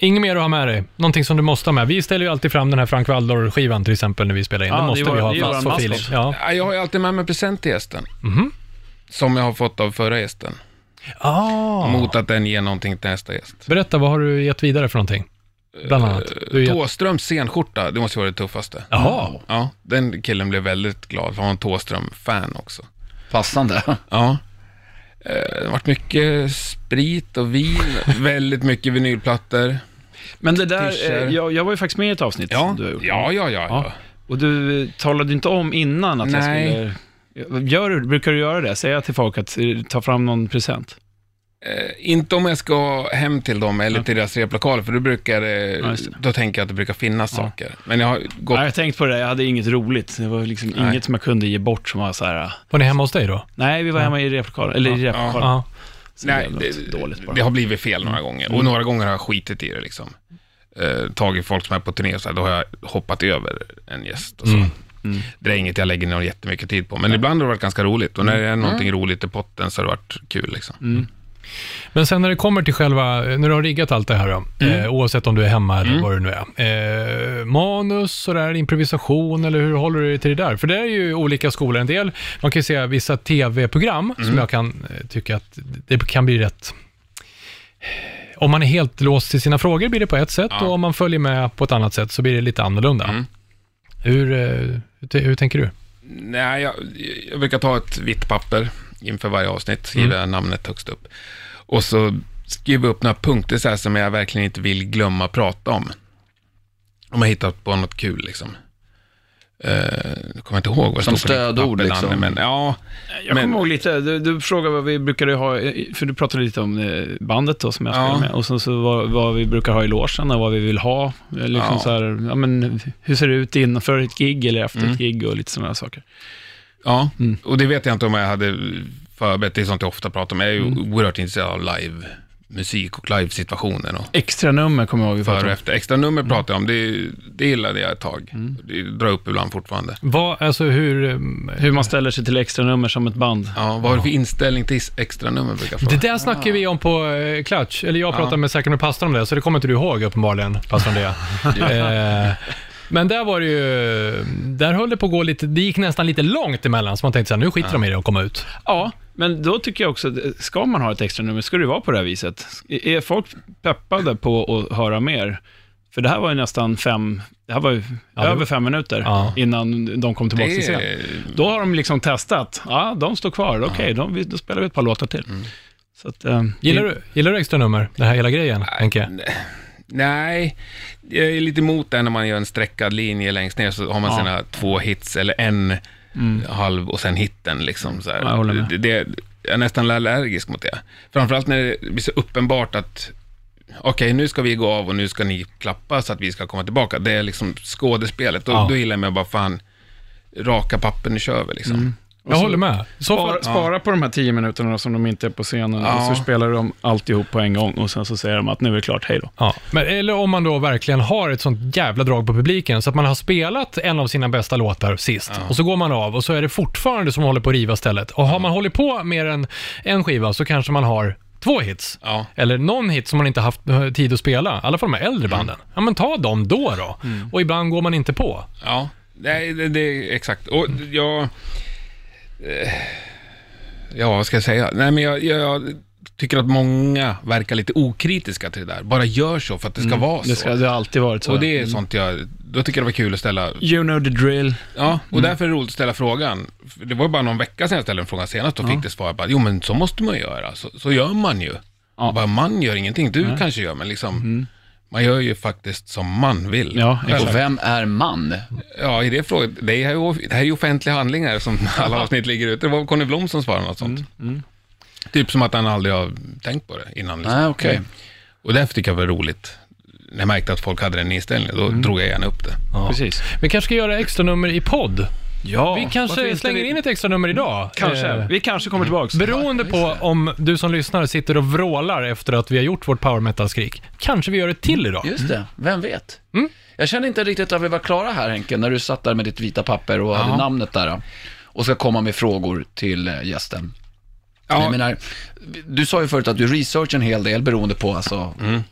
Inget mer att ha med dig? Någonting som du måste ha med? Vi ställer ju alltid fram den här Frank Waldor-skivan till exempel när vi spelar in.
Ja,
den
det
måste
är
vi
vår-
ha
det är
fast
våran
för
maskot.
feeling. Ja.
Ja, Jag har ju alltid med mig present till gästen. Som jag har fått av förra gästen.
Ah.
Mot att den ger någonting till nästa gäst.
Berätta, vad har du gett vidare för någonting? Bland annat. Du har gett...
Tåströms senskjorta, det måste ju vara det tuffaste.
Jaha.
Ja, den killen blev väldigt glad. Han var en Tåström-fan också.
Passande.
Ja. Eh, Det har varit mycket sprit och vin, väldigt mycket vinylplattor.
Men det där,
T-shirt.
eh, jag, jag var ju faktiskt med i ett avsnitt som du har gjort.
ja, ja, ja. ja.
Och du eh, talade inte om innan att
Nej.
jag skulle... Gör, du- brukar du göra det? Säga till folk att eh, ta fram någon present?
Eh, inte om jag ska hem till dem eller till deras replokaler, för då, brukar,
Ja,
eh,
just det.
då tänker jag att det brukar finnas saker. Men jag har gått...
Nej, jag har tänkt på det, där. jag hade inget roligt. Det var liksom
Nej.
inget som jag kunde ge bort som var så här... eh,
Var ni hemma hos dig då?
Nej, vi var hemma i replokalen. Eller i replokalen.
Ja.
Så det
Nej,
blev något dåligt bara. Mm.
det har blivit fel några gånger. Och några gånger har jag skitit i det liksom. Eh, tagit folk som är på turné och så här, då har jag hoppat över en gäst och så.
Mm.
Det är inget jag lägger ner jättemycket tid på, men ibland har det varit ganska roligt. Och när det
Mm.
är någonting roligt i potten så har det varit kul liksom.
Men sen när det kommer till själva, när du har riggat allt det här då, eh, oavsett om du är hemma eller vad det nu är. Eh, manus och där, improvisation eller hur håller du dig till det där? För det är ju olika skolor. En del, man kan ju se vissa tv-program som jag kan eh, tycka att det kan bli rätt... Om man är helt låst till sina frågor blir det på ett sätt och om man följer med på ett annat sätt så blir det lite annorlunda. Hur, eh, hur, t- hur tänker du?
Nej, jag, jag brukar ta ett vitt papper inför varje avsnitt, skriver
Mm.
jag namnet högst upp. Och så skriver jag upp några punkter så här som jag verkligen inte vill glömma prata om. Om jag hittat på något kul liksom. Eh, jag kommer inte ihåg vad det
Som
stod på ditt
stödord,
papper, Danne,
liksom.
Men, ja,
Jag
Men-
kommer ihåg lite, du, du frågade vad vi brukade ha, i- för du pratade lite om eh, bandet då som jag
Ja.
spelar med, och sen så vad, vad vi brukar ha i logen och vad vi vill ha. Eh, Liksom
Ja.
så här, ja, men, hur ser det ut innanför ett gig eller efter
Mm.
ett gig och lite sådana saker.
ja.
Mm.
och det vet jag inte om jag hade förberett. Det är sånt jag ofta pratar om. Jag är ju
Mm.
oerhört intresserad av live musik och live-situationen. Och
Extra nummer kommer jag ihåg vi
före och
pratade om.
efter. Extra nummer
Mm.
pratar jag om. Det, det gillade jag ett tag. Det drar upp ibland fortfarande.
Vad, alltså hur... eh,
Hur man ställer sig till extra nummer som ett band.
Ja, vad har du för inställning till is- extra nummer brukar jag fråga?
Det där snackar vi om på eh, Clutch, eller jag pratade med Säkert med pastorn om det, så det kommer inte du ihåg uppenbarligen, pastorn det. eh, men där var det ju, där höll det på att gå lite, det gick nästan lite långt emellan, så man tänkte såhär, nu skiter de i det och komma ut.
Ja, men då tycker jag också, att, ska man ha ett extra nummer, ska det vara på det här viset. Är folk peppade på att höra mer? För det här var ju nästan fem, det här var ju
det-
över fem minuter
Ja.
innan de kom tillbaka till
Det
scen.
är-
Då har de liksom testat. Ja, Mm. de står kvar. Okej, de- vi- då spelar vi ett par låtar till. Så att, eh,
Gillar du, gillar du extra nummer? Den här hela grejen, Henke?
Nej, jag är lite emot det när man gör en streckad linje längst ner så har man
Ja. Mm.
sina två hits eller en halv och sen hitten liksom. Så här.
Ja, jag håller med.
Det, det, jag är nästan allergisk mot det. Framförallt när det blir så uppenbart att okej, nu ska vi gå av och nu ska ni klappa så att vi ska komma tillbaka. Det är liksom skådespelet. Då,
Ja.
då gillar jag bara fan, raka papper, nu kör vi liksom.
Mm.
Jag håller med. Så
Spara,
fall,
spara på de här tio minuterna som de inte är på scenen
Ja.
och så spelar de alltihop på en gång och sen så säger de att nu är det klart, hej då.
ja. men, eller om man då verkligen har ett sånt jävla drag på publiken, så att man har spelat en av sina bästa låtar sist, och så går man av och så är det fortfarande som håller på att riva stället. Och har man hållit på mer än en skiva så kanske man har två hits.
Ja.
Eller någon hit som man inte haft eh, tid att spela, i alla fall de här äldre
Mm.
banden. Ja, men ta dem då då. Och ibland går man inte på.
Ja, det, det, det exakt. Och jag... eh, Ja, vad ska jag säga? Nej, men jag, jag, jag tycker att många verkar lite okritiska till det där. Bara gör så för att det ska vara så.
Mm, Det, ska, det Mm. har alltid varit så.
Och det är sånt jag, då tycker jag det var kul att ställa,
You know the drill.
ja,
Mm.
och därför är det roligt att ställa frågan. För Det var ju bara någon vecka sedan jag ställde en fråga senast och fick det svar bara, jo men så måste man ju göra, så, så gör man ju.
Ja. Mm.
Bara, man gör ingenting, du kanske gör, men liksom, man gör ju faktiskt som man vill.
Ja,
Själv.
Och vem är man?
Ja, i det frågan, det här är ju, det här är ju offentliga handlingar som alla avsnitt ligger ute. Det var Conny Blom som svarade något sånt.
Mm,
Typ som att han aldrig har tänkt på det innan. liksom.
Nej, okej.
Och därför tycker jag det var roligt. När jag märkte att folk hade den inställningen, då
Mm.
drog jag gärna upp det.
Precis.
Vi kanske ska göra extra nummer i podd.
Ja,
Vi kanske slänger in ett extra nummer idag.
Kanske.
Eh,
Vi kanske kommer tillbaka.
Beroende på om du som lyssnar sitter och vrålar efter att vi har gjort vårt power metal-skrik, kanske vi gör ett till idag.
Mm.
Just det, vem vet? Jag känner inte riktigt att vi var klara här Henke, när du satt där med ditt vita papper och hade namnet där. Och ska komma med frågor till eh, gästen.
Ja.
Jag menar, du sa ju förut att du researchar en hel del beroende på alltså,
Mm.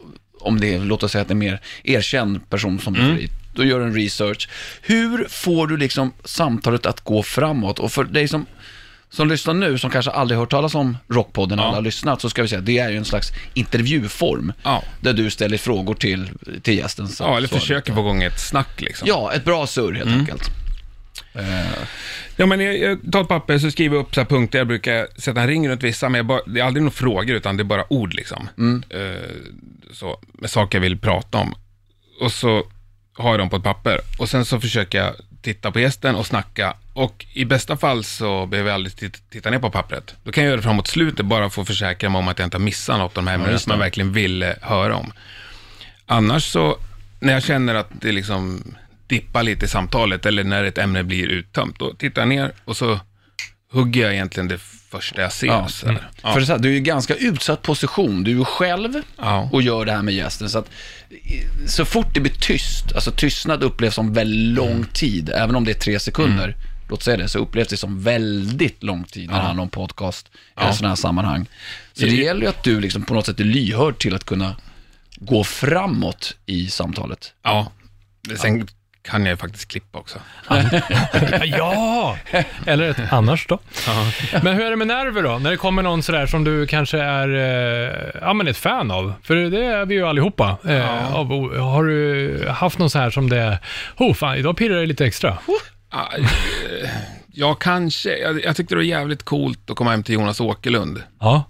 om det är, låt oss säga att det är en mer erkänd person som du
Mm.
får hit. Då gör du en research. Hur får du liksom samtalet att gå framåt? Och för dig som, som lyssnar nu, som kanske aldrig hört talas om Rockpodden, alla har lyssnat, så ska vi säga att det är ju en slags intervjuform.
Ja.
Där du ställer frågor till, till gästen. Så-
Ja, eller
så-
försöker Mm. få igång ett snack liksom.
Ja, ett bra surr helt enkelt.
Ja, men jag, jag tar ett papper så skriver jag upp så här punkter. Jag brukar sätta en ring runt vissa, men jag bara, det är aldrig några frågor, utan det är bara ord liksom. Eh, så, med saker jag vill prata om. Och så har jag dem på ett papper. Och sen så försöker jag titta på gästen och snacka. Och i bästa fall så behöver jag aldrig tit- titta ner på pappret. Då kan jag göra det framåt slutet, bara för att försäkra mig om att jag inte har missat något av de här ämnena som jag verkligen vill eh, höra om. Annars så, när jag känner att det liksom dippar lite i samtalet eller när ett ämne blir uttömt, då tittar jag ner och så hugger jag egentligen det första jag ser.
Ja. mm.
Så här. Ja.
För det är så här, du är ju i ganska utsatt position. Du är ju själv
Ja.
och gör det här med gästen. Så, att, i- så fort det blir tyst, alltså tystnad upplevs som väldigt
Mm.
lång tid, även om det är tre sekunder, låt säga det, så upplevs det som väldigt lång tid när det handlar om podcast eller sådana här sammanhang. Så det,
Det-
gäller ju att du liksom på något sätt är lyhörd till att kunna gå framåt i samtalet.
ja. Sen kan jag ju faktiskt klippa också.
Ja! Eller ett annars då. Men hur är det med nerver då? När det kommer någon sådär som du kanske är eh, ja, men ett fan av? För det är vi ju allihopa. Eh, av, o- har du haft någon så här som det, oh fan, idag pirrar det lite extra.
Ja, eh, ja, kanske. Jag, jag tyckte det var jävligt coolt att komma hem till Jonas Åkerlund.
Ja.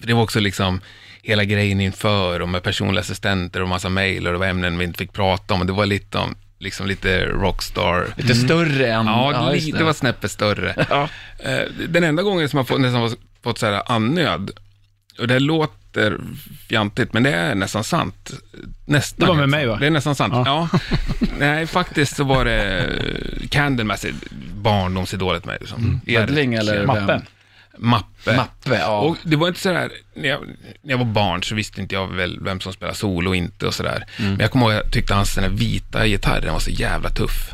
För det var också liksom hela grejen inför och med personliga assistenter och massa mejl och det var ämnen vi inte fick prata om. Och det var lite om, liksom lite rockstar.
Lite större än...
Mm. Ja, det,
just
li- det var snäppet större. Eh, Den enda gången som jag fått, nästan var- fått så här annöd, och det låter fjantigt, men det är nästan sant. Nästan.
Det var med mig, va?
helt sant. Det är nästan sant, ja. Nej, faktiskt så var det eh, Candlemass, barndomsidolet med. Liksom.
Edling eller vem?
Mappen.
Mappe.
Mappe, ja.
Och det var inte sådär, när jag, när jag var barn så visste inte jag väl vem som spelade solo och inte och sådär.
Mm.
Men jag kommer ihåg, jag tyckte hans den där vita gitarren var så jävla tuff.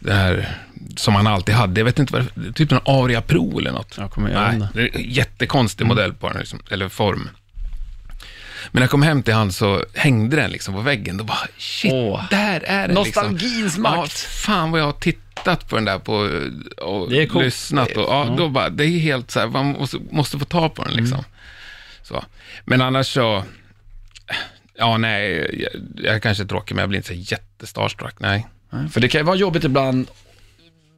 Den här som han alltid hade. Jag vet inte vad det typ en Aria Pro eller något.
Jag kommer ihåg
Nej, det är en jättekonstig
Mm.
modell på den, liksom, eller form. Men när jag kom hem till han så hängde den liksom på väggen. Då bara, shit,
Åh.
där är den
Nostalgins
liksom.
makt.
Ja, fan vad jag har tittat på den där på, och
Det är coolt. Mm.
lyssnat. Och, ja, Då bara, det är helt så här, man måste, måste få ta på den liksom. Så. Men annars så, ja nej, jag, jag kanske är tråkig men jag blir inte så jättestarstruck, nej.
För det kan ju vara jobbigt ibland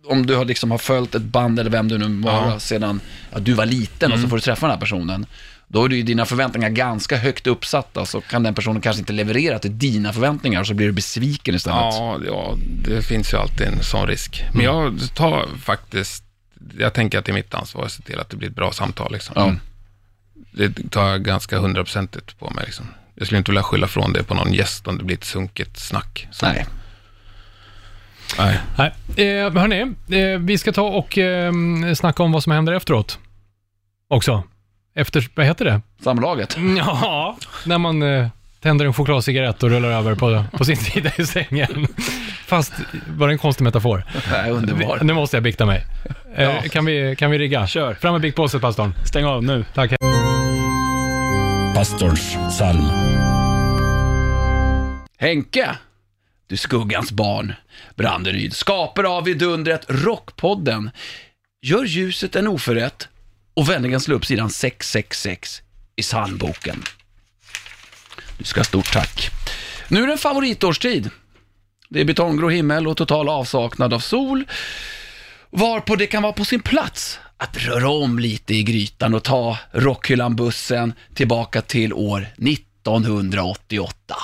om du har, liksom har följt ett band eller vem du nu var sedan att du var liten
Mm.
och så får du träffa den här personen. Då är det ju dina förväntningar ganska högt uppsatta så kan den personen kanske inte leverera till dina förväntningar så blir du besviken istället.
Ja, ja, det finns ju alltid en sån risk. Men
Mm.
jag tar faktiskt, jag tänker att det är mitt ansvar att se till att det blir ett bra samtal. Liksom.
Ja.
Det tar jag ganska hundraprocentigt på mig. Liksom. Jag skulle inte vilja skylla från det på någon gäst om det blir ett sunkigt snack. Så,
Nej.
nej.
Nej. Eh, hörni, eh, vi ska ta och eh, snacka om vad som händer efteråt. Också. Efter, vad heter det?
Samlaget.
Mm,
Ja, när man eh, tänder en chokladcigarett och rullar över på, på sin sida i sängen. Fast var det en konstig metafor?
Nej, underbart.
Nu måste jag bikta mig. Eh, kan, vi, kan vi rigga?
Kör.
Fram med biktpåset, pastorn.
Stäng av nu.
Tack.
Pastorns psalm.
Henke, du skuggans barn, Branderyd, skapare av vidundret Rockpodden. Gör ljuset en oförrätt och vänligen slå upp sidan 666 i psalmboken. Du ska ha stort tack. Nu är det en favoritårstid. Det är betonggrå himmel och total avsaknad av sol. Varpå det kan vara på sin plats att röra om lite i grytan och ta Rockhyllan-bussen tillbaka till år 1988.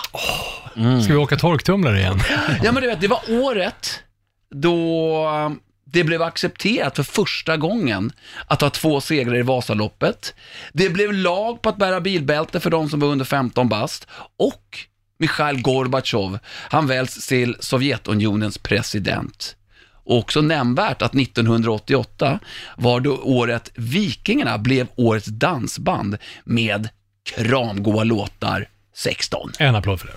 Mm.
Ska vi åka torktumlare igen?
Ja men du vet, det var året då um, det blev accepterat för första gången att ha två segrar i Vasaloppet. Det blev lag på att bära bilbälte för de som var under 15 bast och Mikhail Gorbachev, han väljs till Sovjetunionens president. Och också nämnvärt att 1988 var då året Vikingarna blev årets dansband med kramgoa låtar 16.
En applåd för det.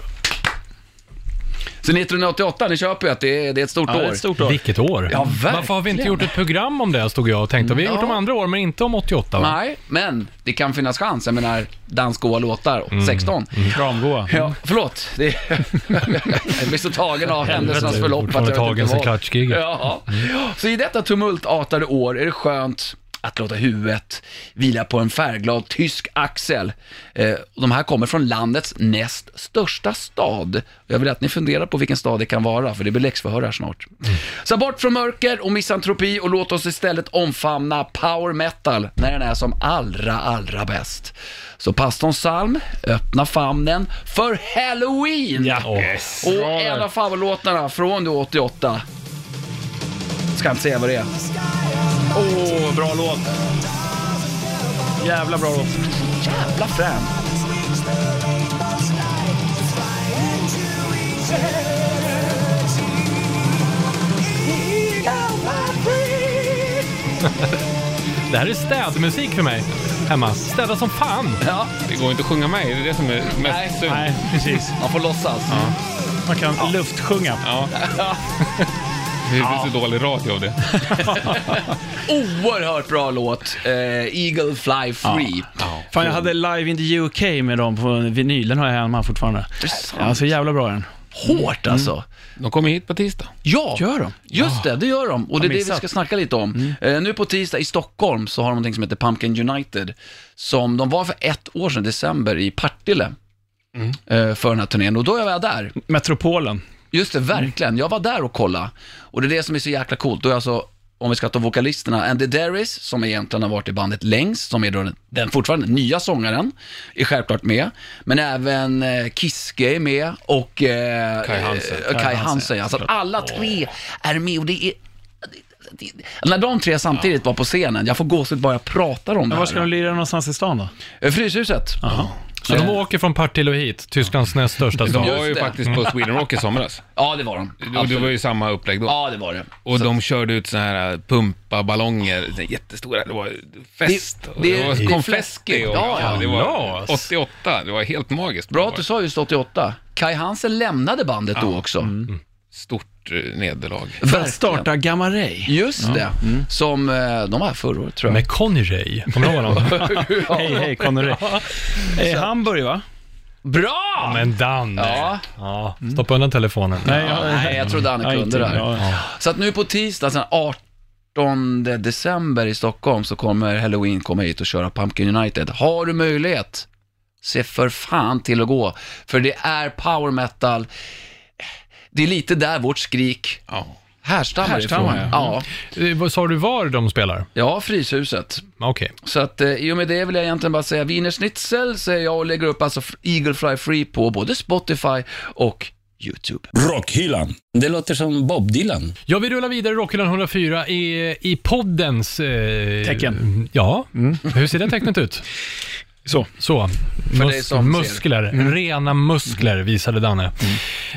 Så 1988, ni köper ju att det är, det är ett stort
Ja, det
år.
är ett stort år.
Vilket år.
Ja, verkligen.
Varför har vi inte gjort ett program om det, stod jag och tänkte. Vi har gjort om andra år, men inte om 88 va?
Nej, men det kan finnas chans. Jag menar, dansgoa låtar, 16.
Mm.
Kramgoa.
Ja, förlåt. Det jag blir så tagen av händelsernas
Helvete,
förlopp.
fortfarande
jag vet
tagen Mm.
inte
sen
vad.
klatschgiget.
Ja. Så i detta tumultartade år är det skönt att låta huvudet vila på en färgglad tysk axel. Eh, och de här kommer från landets näst största stad. Jag vill att ni funderar på vilken stad det kan vara, för det blir läxförhör här snart.
Mm.
Så bort från mörker och misantropi och låt oss istället omfamna power metal när den är som allra, allra bäst. Så pastorn Salm, öppna famnen för halloween!
Ja.
Yes.
Och en av favoritlåtarna från då 88. Ska inte säga vad det är.
Åh, bra låt. Jävla bra låt.
Jävla frän.
Det här är städmusik för mig. Hemma. Städa som fan.
Ja,
Det går inte att sjunga med, det är det som är mest
Nej.
synd.
Nej, precis.
man får låtsas.
Man kan luftsjunga.
Ja. Det blir så dålig radio av det.
Oerhört bra låt. Eh, Eagle Fly Free.
Fan, jag hade Live in the UK med dem på vinylen har jag hemma fortfarande. Ja, så jävla bra är den.
Hårt alltså.
De kommer hit på tisdag.
Ja,
Mm. Gör de?
just det, det gör de. Och det är det vi
missat. Mm.
ska snacka lite om. Eh, nu på tisdag i Stockholm så har de någonting som heter Pumpkin United. Som de var för ett år sedan, december, i Partille.
Mm.
eh, För den här turnén. Och då var jag där.
Metropolen.
Just det, verkligen. Jag var där och kolla. Och det är det som är så jäkla coolt. Då är alltså, om vi ska ta vokalisterna, Andy Darris, som egentligen har varit i bandet längst, som är då den, den fortfarande nya sångaren, är självklart med. Men även eh, Kiske är med och eh,
Kai Hansen.
Eh, Kai Hansen, ja. Så att alla tre är med och det är... det- det- När de tre samtidigt var på scenen, jag får gåshud bara jag pratar om det
Men var ska de
här.
lira någonstans i stan då?
Eh, Fryshuset.
Så de åker från Partille och hit, Tysklands näst största
De
stad.
var ju
det.
faktiskt på Sweden Rock i somras.
Ja, det var de.
Och det
Absolut.
var ju samma upplägg då.
Ja, det var det.
Och de körde ut såna här äh, pumpaballonger, så här jättestora. Det var fest.
Det-
och
det-
var
det är
konfetti
fläskigt.
och-
Ja, ja.
Det var
Kalas.
88. Det var helt magiskt.
Bra att
det
du
var
sa just 88. Kai Hansen lämnade bandet då också.
ett stort eh, nederlag.
För
Verkligen.
att starta Gamma Ray.
Just det. Som eh, de var här förra året tror jag.
Med Conny Ray. Kommer du ihåg honom?
Hej, hej, Connery. Eh, Hamburg, va?
Bra!
Men Danne.
Ja.
Ja, Stoppa undan telefonen.
Nej, jag,
Nej, jag trodde han kunde det här.
Ja.
Så att nu på tisdag, sen 18 december i Stockholm, så kommer Halloween komma hit och köra Pumpkin United. Har du möjlighet, se för fan till att gå. För det är power metal. Det är lite där vårt skrik
Ja.
härstammar,
Härstammar,
ifrån. Ja.
Eh, vad Sa du var de spelar?
ja, Fryshuset.
Okej.
Så att eh, i och med det vill jag egentligen bara säga Wienerschnitzel säger jag och lägger upp alltså F- Eagle Fly Free på både Spotify och YouTube.
Rockhyllan. Det låter som Bob Dylan.
Ja, vi rullar vidare i Rockhyllan 104 i, i poddens... Eh,
Tecken. Mm.
Ja, hur ser det tecknet ut?
Så. Mm.
Så,
dig
Mus-
som ser.
muskler, rena muskler visade Danne.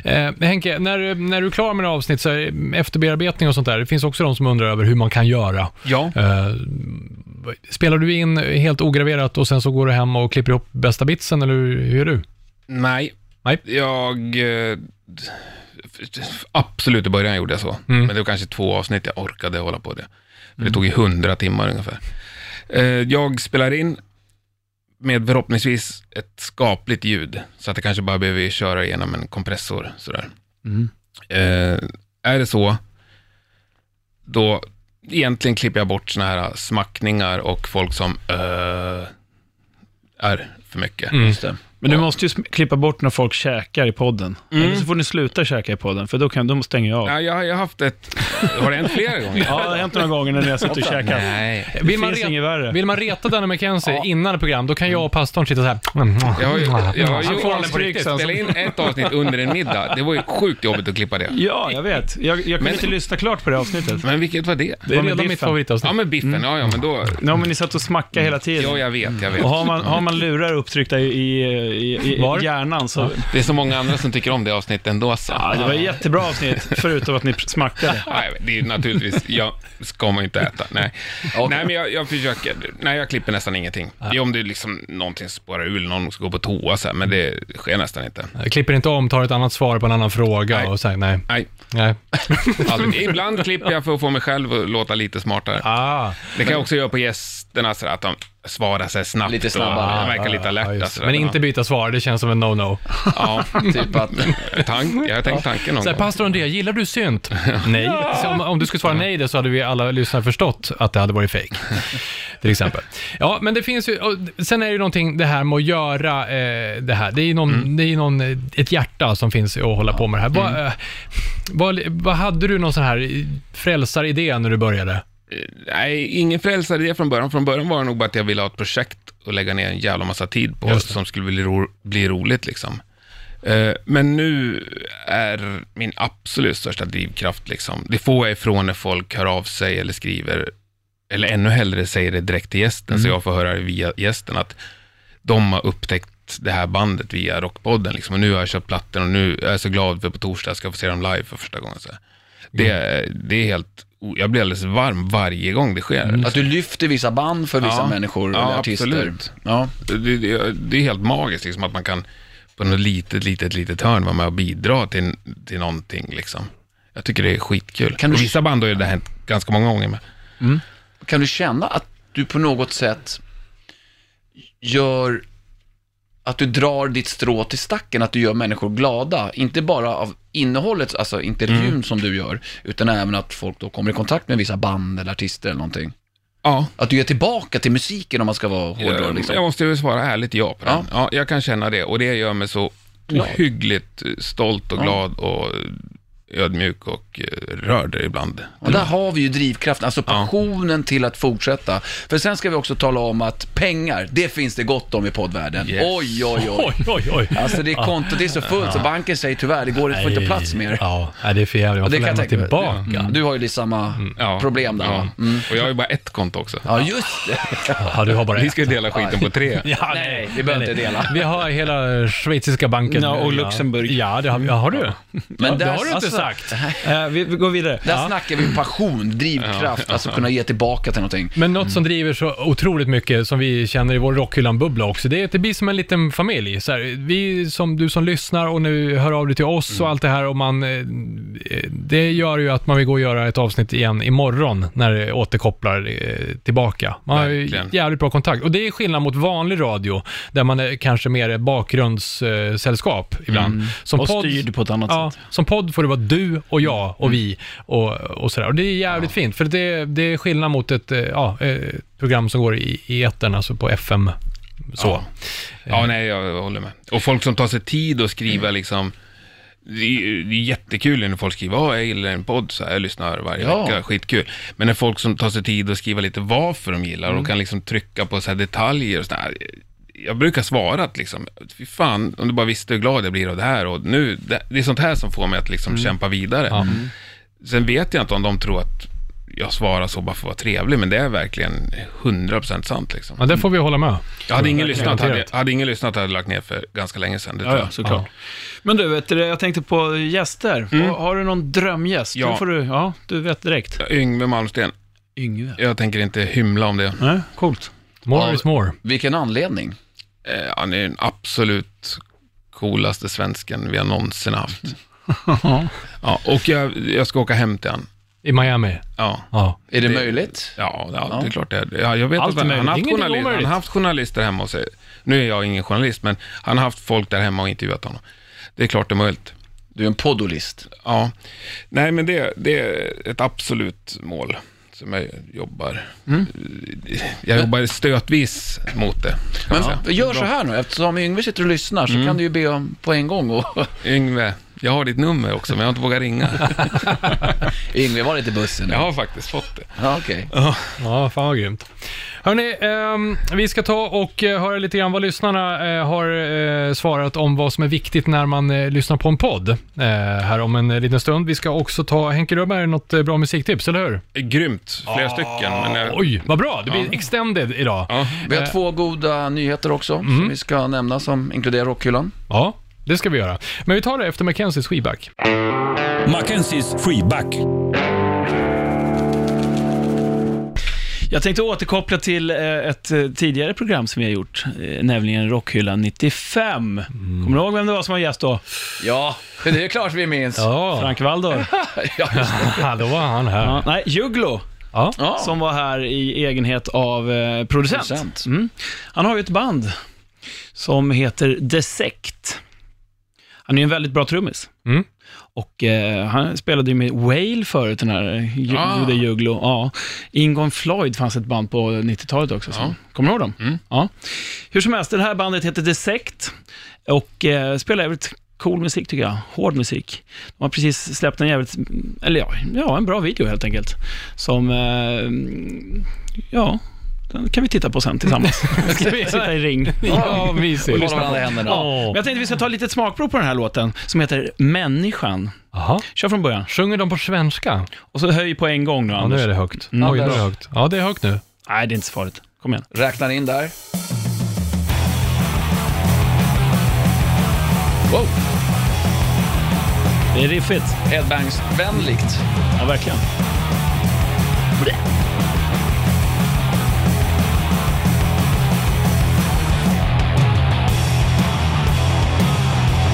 Eh, Henke, när, när du är klar med det här avsnitt, så här, efterbearbetning och sånt där, det finns också de som undrar över hur man kan göra.
Ja.
Eh, spelar du in helt ograverat och sen så går du hem och klipper ihop bästa bitsen, eller hur hur gör du?
Nej.
Nej.
Jag... eh, Absolut i början gjorde jag så. Men det var kanske två avsnitt jag orkade hålla på det. För det tog ju hundra timmar ungefär. Eh, Jag spelar in med förhoppningsvis ett skapligt ljud. Så att jag kanske bara behöver köra igenom en kompressor. Sådär. Eh, är det så, då egentligen klipper jag bort såna här smackningar och folk som... eh, är för mycket.
Just det.
Men du måste ju sm- klippa bort när folk käkar i podden. Eller så får ni sluta käka i podden, för då, kan, då stänger jag av.
Ja, jag, har- jag har haft ett... Har det hänt flera gånger?
Ja, det har hänt några gånger när ni har suttit och käkat.
Nej.
Det
Vill man
finns
re-
inget värre.
Vill man reta Danny McKenzie innan program, då kan jag och pastorn sitta så här.
Mm.
Mm.
Jag har ju, jag
Han
har ju
får aldrig på
avstrykt
riktigt.
att spela in ett avsnitt under en middag. Det var ju sjukt jobbigt att klippa det.
Ja, jag vet. Jag, jag kunde inte lyssna klart på det avsnittet.
Men vilket var det?
Det Mm.
Det
är
är
med
redan mitt
biffen.
Ja,
favoritavsnitt.
men biffen. Ja, ja, men då...
Ja, men ni satt och smackade hela tiden.
Ja, jag vet, jag vet.
Och har man, har man lurar upptryckta i, i, i, i
Var?
hjärnan så...
Det är så många andra som tycker om det avsnittet ändå. Så.
Ja, det var ett jättebra avsnitt, förutom att ni smackade.
Nej, jag vet, det är ju naturligtvis, jag ska man ju inte äta. Nej, nej men jag, jag försöker, nej jag klipper nästan ingenting. Det är om det är liksom någonting spårar ur, eller någon ska gå på toa så här, men det sker nästan inte.
Jag klipper inte om, tar ett annat svar på en annan fråga
Nej.
och säger nej.
Nej,
nej.
aldrig. Ibland klipper jag för att få mig själv att låta lite smartare.
Ah,
Det kan jag också göra på gästerna, så där, att de svarar sig snabbt.
Lite snabbare.
Och verkar lite
ja,
alerta.
just
så
det.
där.
men inte byta svar, det känns som en no-no.
Ja,
Typ att...
tank, jag har tänkt tanken någon
Så här,
gång.
pastor Andrea, gillar du synt? nej. Så om, om du skulle svara nej det så hade vi alla lyssnare förstått att det hade varit fake. Till exempel. Ja, men det finns ju, och sen är det ju någonting det här med att göra eh, det här. Det är ju någon, det är ju någon, eh, ett hjärta som finns att hålla på med det här. Vad, eh, vad, vad hade du någon sån här frälsaridé när du började?
Nej, ingen frälsaridé från början. Från början var det nog bara att jag ville ha ett projekt och lägga ner en jävla massa tid på,
Just det.
som skulle bli, ro, bli roligt liksom. Eh, Men nu är min absolut största drivkraft, liksom, det får jag ifrån när folk hör av sig eller skriver, eller ännu hellre säger det direkt till gästen, så jag får höra det via gästen, att de har upptäckt det här bandet via Rockpodden. Liksom. Och nu har jag köpt plattan och nu är jag så glad för på torsdag ska jag få se dem live för första gången. Så. här. Det, det är helt, jag blir alldeles varm varje gång det sker.
Att du lyfter vissa band för vissa
Ja.
människor
Ja,
eller artister.
absolut.
Ja,
det, det, det är helt magiskt liksom, att man kan på något litet, litet, litet hörn vara med och bidra till, till någonting. Liksom. Jag tycker det är skitkul.
Kan du-
Och vissa band har ju det hänt ganska många gånger med.
Kan du känna att du på något sätt gör att du drar ditt strå till stacken, att du gör människor glada, inte bara av innehållet, alltså intervjun
Mm.
som du gör, utan även att folk då kommer i kontakt med vissa band eller artister eller någonting.
Ja,
Att du ger tillbaka till musiken om man ska vara hårdare
jag,
liksom.
jag måste ju svara ärligt ja på
Ja.
den. Ja, jag kan känna det och det gör mig så ohyggligt stolt och glad och ödmjuk och eh, rörd ibland.
Och där har vi ju drivkraften, alltså passionen till att fortsätta. För sen ska vi också tala om att pengar, det finns det gott om i poddvärlden.
Yes.
Oj, oj, oj.
Oj, oj, oj.
Alltså det är kontot det är så fullt så banken säger tyvärr, det går inte, får inte plats mer.
Ja, nej, det är för jävligt. Man
Och
får
det kan jag
lämna
tänka mig.
tillbaka.
Mm. Du har ju lite samma
Ja.
problem där
Ja.
va? Mm.
Och jag har ju bara ett konto också.
Ja, just det.
Ja, du har bara
Vi
ett.
ska ju dela skiten på tre.
Ja,
Nej, vi behöver inte dela.
Vi har hela eh, schweiziska banken.
Ja, och Luxemburg.
Ja, det har, vi- ja, har du.
Men
det
där-
har du inte
alltså-
sagt.
Eh, vi, vi går vidare.
Där snackar vi passion, drivkraft, alltså kunna ge tillbaka till någonting.
Men något som driver så otroligt mycket, som vi känner i vår Rockhyllan-bubbla också, det är att det blir som en liten familj. Så här, vi som, du som lyssnar och nu hör av dig till oss
Mm.
och allt det här och man, eh, det gör ju att man vill gå och göra ett avsnitt igen imorgon när det återkopplar eh, tillbaka. Man har ju
Verkligen.
jävligt bra kontakt och det är skillnad mot vanlig radio där man är kanske mer bakgrundssällskap ibland.
Mm.
Som
Och
podd-
styrd på ett annat
Ja, Mm.
sätt.
som podd får det vara du och jag och vi och, och sådär. Och det är jävligt fint, för det, det är skillnad mot ett eh, ja, eh, program som går i, i etern, alltså på FM. Så.
Ja. Ja, nej, jag håller med. Och folk som tar sig tid att skriva liksom, det är, ju- det är jättekul när folk skriver, ja, jag gillar en podd, så här, jag lyssnar varje
Ja.
vecka, skitkul. Men när folk som tar sig tid att skriva lite varför de gillar och kan liksom trycka på så här detaljer och sådär. Jag brukar svara att liksom, fy fan, om du bara visste hur glad jag blir av det här och nu, det, det är sånt här som får mig att liksom kämpa vidare. Sen vet jag inte om de tror att jag svarar så bara för att vara trevlig, men det är verkligen 100% sant liksom.
Ja, det får vi hålla med.
Jag hade ingen
Verkligen.
lyssnat, hade,
Garanterat.
hade ingen lyssnat hade jag lagt ner för ganska länge sedan. Det tror
Ja,
jag.
ja, såklart. Men du, vet du, jag tänkte på gäster. Har, har du någon drömgäst?
Ja.
Då får du, ja, du vet direkt.
Yngve Malmsten,
Yngve.
jag tänker inte hymla om det.
Nej, coolt.
More
Ja.
is more.
Vilken anledning.
Eh, han är den absolut coolaste svensken vi har någonsin haft. ja, och jag, jag ska åka hem till han.
I Miami.
Ja,
Ja.
Är det,
Det-
möjligt?
ja, ja, det är klart det är. Ja, jag vet
Allt
att
är
han, han,
möjligt.
har haft
Ingenting är
journalist, han
omöjligt.
har haft journalister hemma hos sig. Nu är jag ingen journalist, men han har haft folk där hemma och intervjuat honom. Det är klart det är möjligt.
Du är en podolist.
Ja, nej men det, det är ett absolut mål. som jag jobbar. Jag jobbar stötvis mot det. kan man säga.
Men gör så här nu, eftersom Yngve sitter och lyssnar så kan du ju be om på en gång. Och
Yngve, jag har ditt nummer också, men jag har inte vågat ringa.
Yngve, var lite bussen nu.
Jag har faktiskt fått det.
Ja, okej.
Ja, fan vad grymt. Hörni, ehm, vi ska ta och eh, höra lite grann vad lyssnarna eh, har eh, svarat om vad som är viktigt när man eh, lyssnar på en podd eh, här om en eh, liten stund. Vi ska också ta, Henke Rödberg, något eh, bra musiktips, eller hur?
Grymt, flera stycken. Men jag,
Oj, vad bra! Det blir extended idag. Ja.
ja.
Vi har två goda nyheter också som vi ska nämna som inkluderar rockhyllan.
det ska vi göra. Men vi tar det efter Mackenzies skivback.
Mackenzies freeback.
Jag tänkte återkoppla till eh, ett eh, tidigare program som vi har gjort, eh, nämligen Rockhyllan 95. Kommer du ihåg vem det var som var gäst då?
Ja, det är klart vi minns. Ja.
Ja,
Frank Waldor.
just det.
då var han här.
Ja, nej, Juglo,
Ja.
Ja.
som var här i egenhet av eh, producent.
Producent.
Mm. Han har ju ett band som heter The Sect. Han är ju en väldigt bra trummis.
Mm.
Och eh, han spelade ju med Whale förut, den här Ju-
Ah.
Jude Juglo. Ja. Ingon Floyd fanns ett band på 90-talet också. som- Kommer du ihåg dem?
Mm.
Ja. Hur som helst, det här bandet heter The Sect och eh, spelar jävligt cool musik tycker jag. Hård musik. De har precis släppt en jävligt, eller ja, ja en bra video helt enkelt. Som, eh, ja, den kan vi titta på sen tillsammans. Ska vi sitta i ring.
Ja,
Vi
mysigt.
håller varandra i händerna.
Ja. Men jag tänkte vi ska ta ett litet smakprov på den här låten som heter Människan.
Jaha.
Kör från början.
Sjunger de på svenska?
Och så höj på en gång nu
Ja, nu
Anders.
är det högt. Oj, nu är det högt. Ja, det är högt nu.
Nej, det är inte så farligt. Kom igen.
Räknar in där. Wow,
Det är riffigt.
headbangs-vänligt.
Ja, verkligen.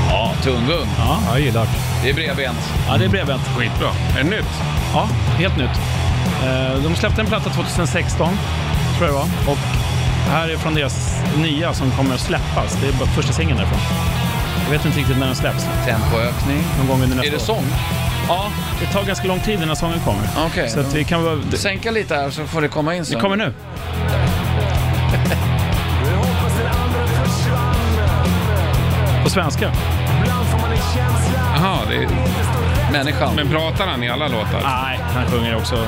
Ja, tunggung.
Ja, jag gillar det.
Det är bredbent.
Ja, det är bredbent.
Skitbra. Är det nytt?
Ja, helt nytt. Eh, De släppte en platta 2016, tror jag det var. Och här är från deras nya som kommer att släppas. Det är bara första singeln därifrån. Jag vet inte riktigt när den släpps.
Tempoökning.
Någon gång under nästa
Är det
år.
sång?
Ja, det tar ganska lång tid innan sången kommer.
Okej.
Så att vi kan vara... Det
Sänka lite här så får det komma in sen.
det kommer nu. På svenska?
Jaha, det är...
Människan.
men pratar han i alla låtar?
Nej, han sjunger också.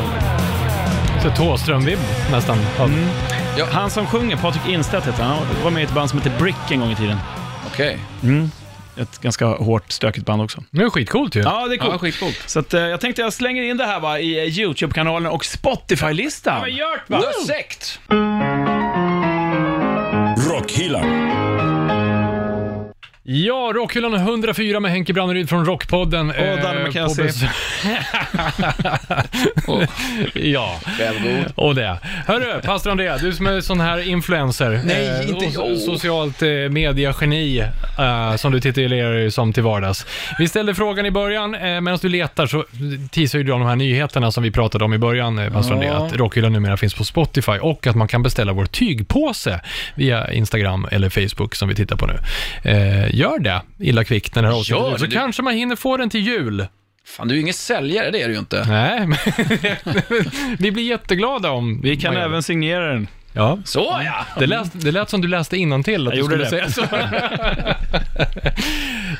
Så Thåström-vibb nästan. Mm.
Han som sjunger, Patrik Instedt heter han. Han var med i ett band som heter Brick en gång i tiden.
Okej.
Ett ganska hårt, stökigt band också.
Det är skitcoolt ju.
Ja, det är coolt.
Ja, skitcoolt.
Så att, eh, jag tänkte jag slänger in det här va, i eh, YouTube-kanalen och Spotify-listan. Ja, gör det,
The Sect.
Rockhyllan.
Ja, Rockhyllan 104 med Henke Branneryd från Rockpodden. eh, Och
Danne Mackenzie.
ja,
Självgod.
och det. Hörru, pastor André, du som är sån här influencer.
Nej, inte
och so-
jag.
Socialt eh, media-geni, eh, som du titulerar dig som till vardags. Vi ställde frågan i början, eh, medan du letar så teasar ju du om de här nyheterna som vi pratade om i början, eh, pastor André, att Rockhyllan numera finns på Spotify och att man kan beställa vår tygpåse via Instagram eller Facebook som vi tittar på nu. Eh, gör det, illa kvickt, när det här avsnittet
Gör
är ut, så
det.
kanske man hinner få den till jul.
Fan, du är ju ingen säljare, det är du ju inte.
Nej, men vi blir jätteglada om...
Vi kan
man gör det.
även signera den.
Ja. Mm.
Så ja.
Det lät, det lät som du läste innantill att
Jag
du skulle
gjorde
säga så.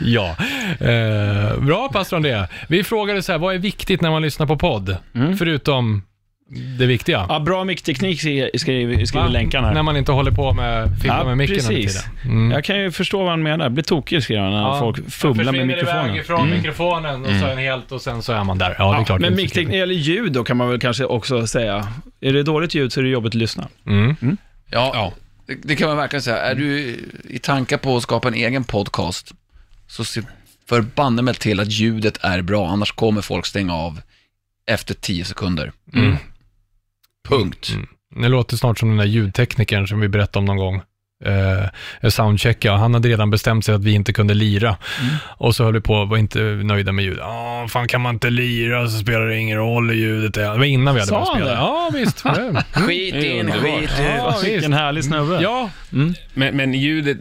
ja, eh, bra pastor André. Vi frågade så här, vad är viktigt när man lyssnar på podd? Förutom det viktiga.
Mm. Ja, bra mickteknik skriver, skriver, skriver
Va?
länken här.
När man inte håller på med filma
Ja,
med micken hela
precis.
tiden. Mm.
Jag kan ju förstå vad han menar. Blir tokig skriver han när
Ja.
folk fumlar med mikrofonen. Mm.
ifrån mikrofonen och så är den helt och sen så är man där. Ja, det är
Men
klart. det är så kul.
mickteknik, eller ljud då kan man väl kanske också säga. Är det dåligt ljud så är det jobbigt att lyssna.
Mm.
Ja, Det, det kan man verkligen säga. Är du i tankar på att skapa en egen podcast, så se förbanne mig till att ljudet är bra, annars kommer folk stänga av efter 10 sekunder.
Mm.
Punkt.
Det låter snart som den där ljudteknikern som vi berättade om någon gång. Eh, soundchecka. Han hade redan bestämt sig att vi inte kunde lira.
Mm.
Och så höll vi på och var inte nöjda med ljudet. Ja, fan kan man inte lira så spelar det ingen roll hur ljudet är. Det var innan vi hade
Sa
börjat
han
spela.
det?
Ja, visst. var det.
Skit in,
underbart.
skit ut.
Ja, vilken härlig snubbe.
ja,
Men, men ljudet,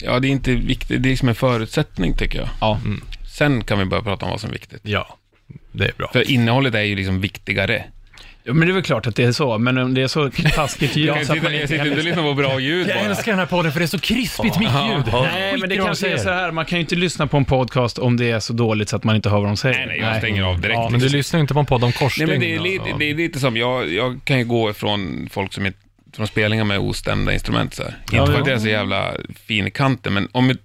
ja det är inte viktigt, det är som en förutsättning tycker jag. Mm.
Ja.
Sen kan vi börja prata om vad som är viktigt.
ja, det är bra.
För innehållet är ju liksom viktigare.
Ja, men det är väl klart att det är så, men om det är så taskigt ljud
Jag
så
sitter
att man
inte
inte
sitter
kan
inte och
lyssna.
lyssnar på bra ljud
Jag
bara.
älskar den här podden för det är så krispigt mickljud.
Nej, men det
Skit i vad de
kanske är
säger.
så här, man kan ju inte lyssna på en podcast om det är så dåligt så att man inte hör vad de säger.
Nej, nej, jag stänger av direkt.
Ja, men du lyssnar ju inte på en podd om korsstygn.
Nej, men det är, lite, det är lite som, jag, jag kan ju gå ifrån folk som inte, från spelningar med ostämda instrument så här.
Ja,
inte för
ja.
att det är så jävla fin i kanten, men om,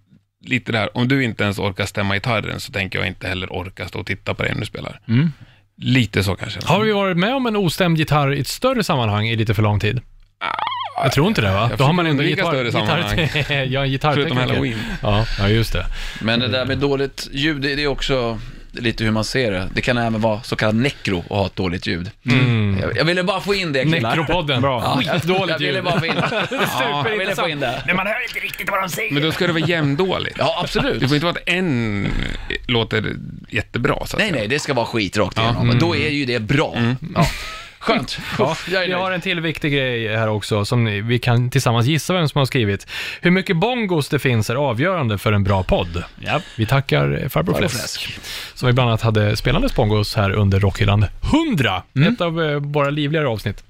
lite där, om du inte ens orkar stämma gitarren så tänker jag inte heller orka stå och titta på dig när du spelar. Lite så kanske.
Har vi varit med om en ostämd gitarr i ett större sammanhang i lite för lång tid? Jag tror inte det va?
jag
Då har man ändå
försöker
gitarr...
undvika större
gitarr ja, en
Förutom
gitarrtekniker.
halloween.
Ja, ja, just det.
Men det där med dåligt ljud, det det är också lite hur man ser det. Det kan även vara så kallad nekro att ha ett dåligt ljud. Jag, jag ville bara få in det killar.
Nekropodden. Bra.
Ja, jag, jag
Skitdåligt
ville
ljud.
bara få in det. Ja, jag ville få in det.
Men man hör inte riktigt vad de säger.
Men då ska det vara jämndåligt.
Ja,
Det
absolut.
får inte vara att en låter jättebra. Så att
Nej,
säga.
nej, det ska vara skit rakt igenom. Men då är ju det bra. Ja. Skönt. Ja, jag är
Vi
nöjd.
har en till viktig grej här också som ni, vi kan tillsammans gissa vem som har skrivit. Hur mycket bongos det finns är avgörande för en bra podd.
Ja.
Vi tackar eh, farbror
Farbror
Fläsk. Som vi bland annat hade spelandes bongos här under Rockhyllan 100. Ett av eh, våra livligare avsnitt.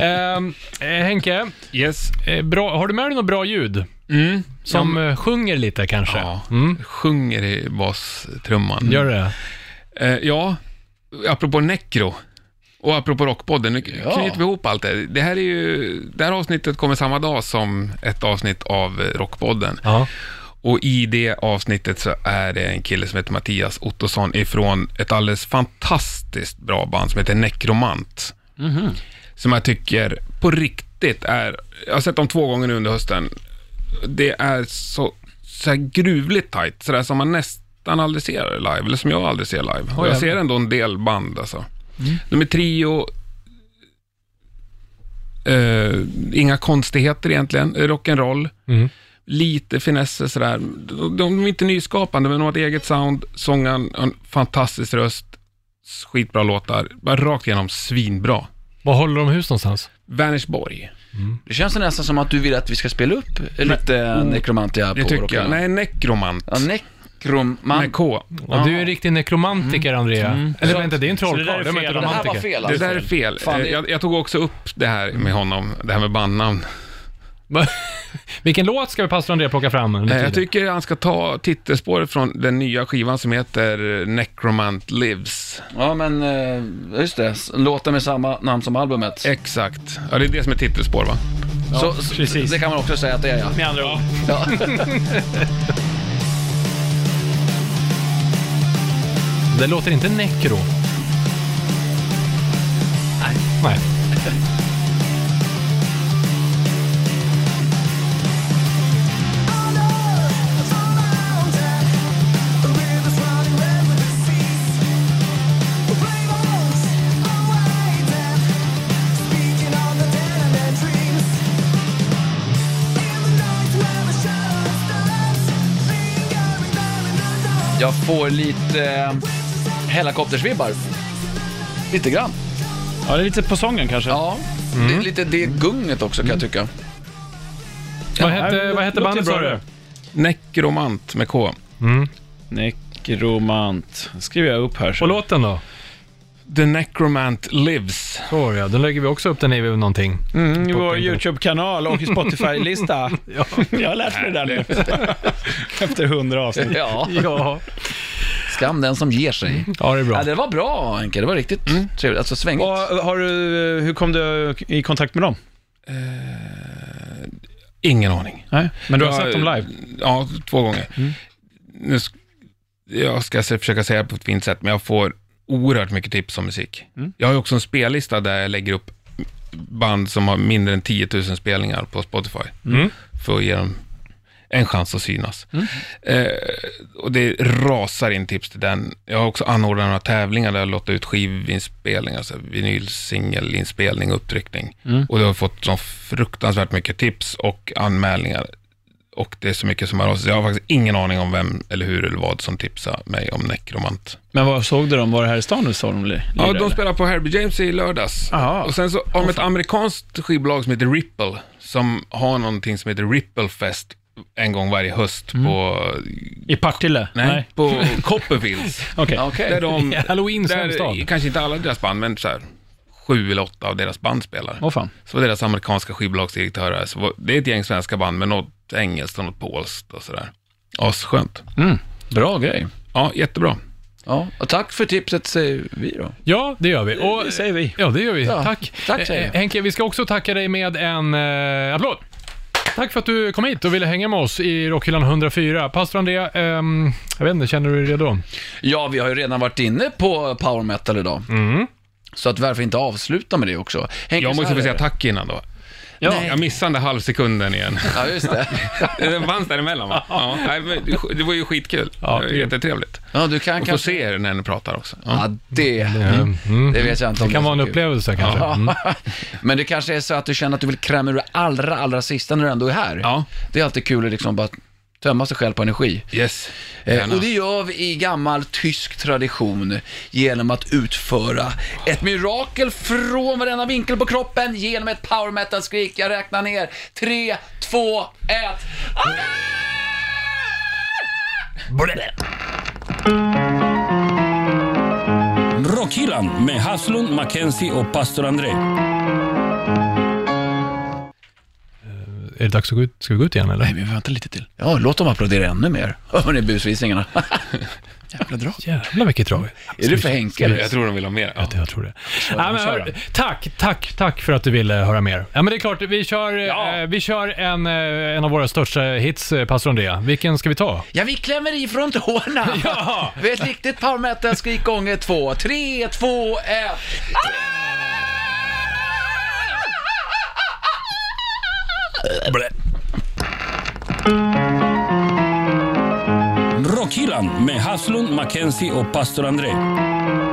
Ehm, eh, Henke,
Yes.
eh, bra, har du med dig något bra ljud?
Mm.
Som eh, sjunger lite kanske?
Ja.
Mm.
Sjunger i bastrumman.
Gör det?
Eh, ja, apropå Necro och apropå Rockpodden, nu
Ja.
knyter vi ihop allt det. Det här, är ju, det här avsnittet kommer samma dag som ett avsnitt av eh, Rockpodden.
Ja.
Och i det avsnittet så är det en kille som heter Mattias Ottosson ifrån ett alldeles fantastiskt bra band som heter Necromant. Som jag tycker på riktigt är, jag har sett dem två gånger nu under hösten. Det är så, så här gruvligt tajt, så där som man nästan aldrig ser det live, eller som jag aldrig ser live. Och jag ser ändå en del band alltså. De är trio, eh, inga konstigheter egentligen, rock'n'roll
Mm.
lite finesser sådär. De, de är inte nyskapande, men de har ett eget sound. Sångaren har en fantastisk röst, skitbra låtar. Bara rakt igenom svinbra.
Var håller de hus någonstans?
Vänersborg,
Det känns nästan som att du vill att vi ska spela upp lite nekromantia på
det tycker jag.
Rockland.
Nej, Necromant.
Ja, nekromant.
Med K.
Ja, du är ju riktig nekromantiker, Andrea. Eller vänta, det är
det där
en
är
trollkarl. De är
fel.
inte
Det
det här var
romantiker.
fel
Det Mm.
alltså.
där är fel.
Fan, det-
Eh, Jag, jag tog också upp det här med honom, det här med bandnamn.
Vilken låt ska vi pastor Andrea plocka fram? under
Eh, Jag
tiden?
tycker han ska ta titelspåret från den nya skivan som heter Necromant Lives.
Ja, men eh, just det. Låten med samma namn som albumet.
Exakt. Ja, det är det som är titelspår va?
så, så-
precis.
Det kan man också säga att det är, ja.
Med andra ord.
ja.
Det låter inte nekro. Nej.
Jag får lite eh, helikoptersvibbar. Lite grann.
Ja, det är lite på sången kanske.
Ja, det är lite det gunget också kan jag tycka.
Vad hette, vad
Låter
hette bandet
bra
sa du?
det.
Necromant med K.
Nekromant. skriver jag upp här. så.
Och låten då?
The Necromant Lives.
Så ja, den lägger vi också upp den i någonting.
Mm, i vår YouTube-kanal och i Spotify-lista. Jag har lärt mig det där nu. Efter hundra avsnitt.
Ja,
Ja.
skam den som ger sig.
ja, det är bra.
Ja, det var bra Henke, det var riktigt trevligt. Alltså svängigt.
Och har du, hur kom du i kontakt med dem?
Ingen aning.
Nej, men du har
Ja, eh,
sett dem live? Mm.
Ja, två gånger. Nu sk- jag ska se- försöka säga det på ett fint sätt, men jag får oerhört mycket tips om musik.
Mm.
Jag har ju också en spellista där jag lägger upp band som har mindre än 10 000 spelningar på Spotify.
Mm.
För att ge dem en chans att synas. Eh, och det rasar in tips till den. Jag har också anordnat några tävlingar där jag låtit ut skivinspelningar, alltså vinylsingelinspelning och upptryckning.
Mm.
Och det har fått så fruktansvärt mycket tips och anmälningar och det är så mycket som har av sig. Jag har faktiskt ingen aning om vem eller hur eller vad som tipsade mig om Necromant.
Men var såg du dem? Var det här i stan du såg dem? li- lira,
Ja, de
eller?
spelar på Herbie James i lördags.
Aha.
Och sen så har de ett amerikanskt skivbolag som heter Ripple, som har någonting som heter Ripple Fest en gång varje höst på,
I Partille?
nej, på Copperfields.
Okej.
Okej.
Där de,
Halloween
där,
hemstad.
kanske inte alla deras band, men så här, sju eller åtta av deras band spelar.
Åh fan.
Så var deras amerikanska skivbolagsdirektörer, så var, det är ett gäng svenska band med något engelskt och något polskt och sådär. Asskönt.
Mm.
Bra grej.
Ja, jättebra.
Ja, och tack för tipset säger vi då.
Ja, det gör vi.
Det
Och,
säger vi.
ja, det gör vi.
Ja,
Tack.
tack säger jag.
Eh, Henke, vi ska också tacka dig med en eh, applåd. Tack för att du kom hit och ville hänga med oss i Rockhyllan 104. Pastor André, ehm, jag vet inte, känner du dig redo?
Ja, vi har ju redan varit inne på power metal idag. Så att varför inte avsluta med det också? Henke,
Jag
så
måste
här
få
är
säga
det.
tack innan då.
Ja.
Ja, jag missade den där halvsekunden igen.
Ja, just det.
Den fanns däremellan va? Ja, nej, men det var ju skitkul.
Ja,
det var jättetrevligt.
Ja, du kan
Och få
kanske...
se er när ni pratar också. Ja.
Ja, det, det vet jag inte om
Det kan
är
vara en
så kul.
upplevelse kanske.
Ja. Men det kanske är så att du känner att du vill kräma ur det allra, allra sista när du ändå är här.
Ja.
Det är alltid kul att liksom bara tömma sig själv på energi.
Yes.
Eh,
Gärna.
och det gör vi i gammal tysk tradition genom att utföra ett mirakel från varenda vinkel på kroppen genom ett power metal-skrik. Jag räknar ner. Tre, två, ett. Ah!
Rockhyllan med Haslund, Mackenzie och pastor André.
Är det dags att gå ut? Ska vi gå ut igen eller?
Vi väntar lite till. Ja, låt dem applådera ännu mer. Hörni, busvisningarna. Jävla drag.
Jävlar vilket drag.
Är det för Henke? eller?
Jag tror de vill ha mer. Ja.
Jag tror det. Ja, men, hör, tack, tack, tack för att du ville höra mer. Ja, men det är klart, vi kör, eh, vi kör en, eh, en av våra största hits, eh, pastor André. Vilken ska vi ta?
Ja, vi klämmer i från tårna.
Ja.
Vi är ett riktigt power metal-skrik gånger två. Tre, två, ett.
Rockhyllan med Haslund, Mackenzie och pastor André.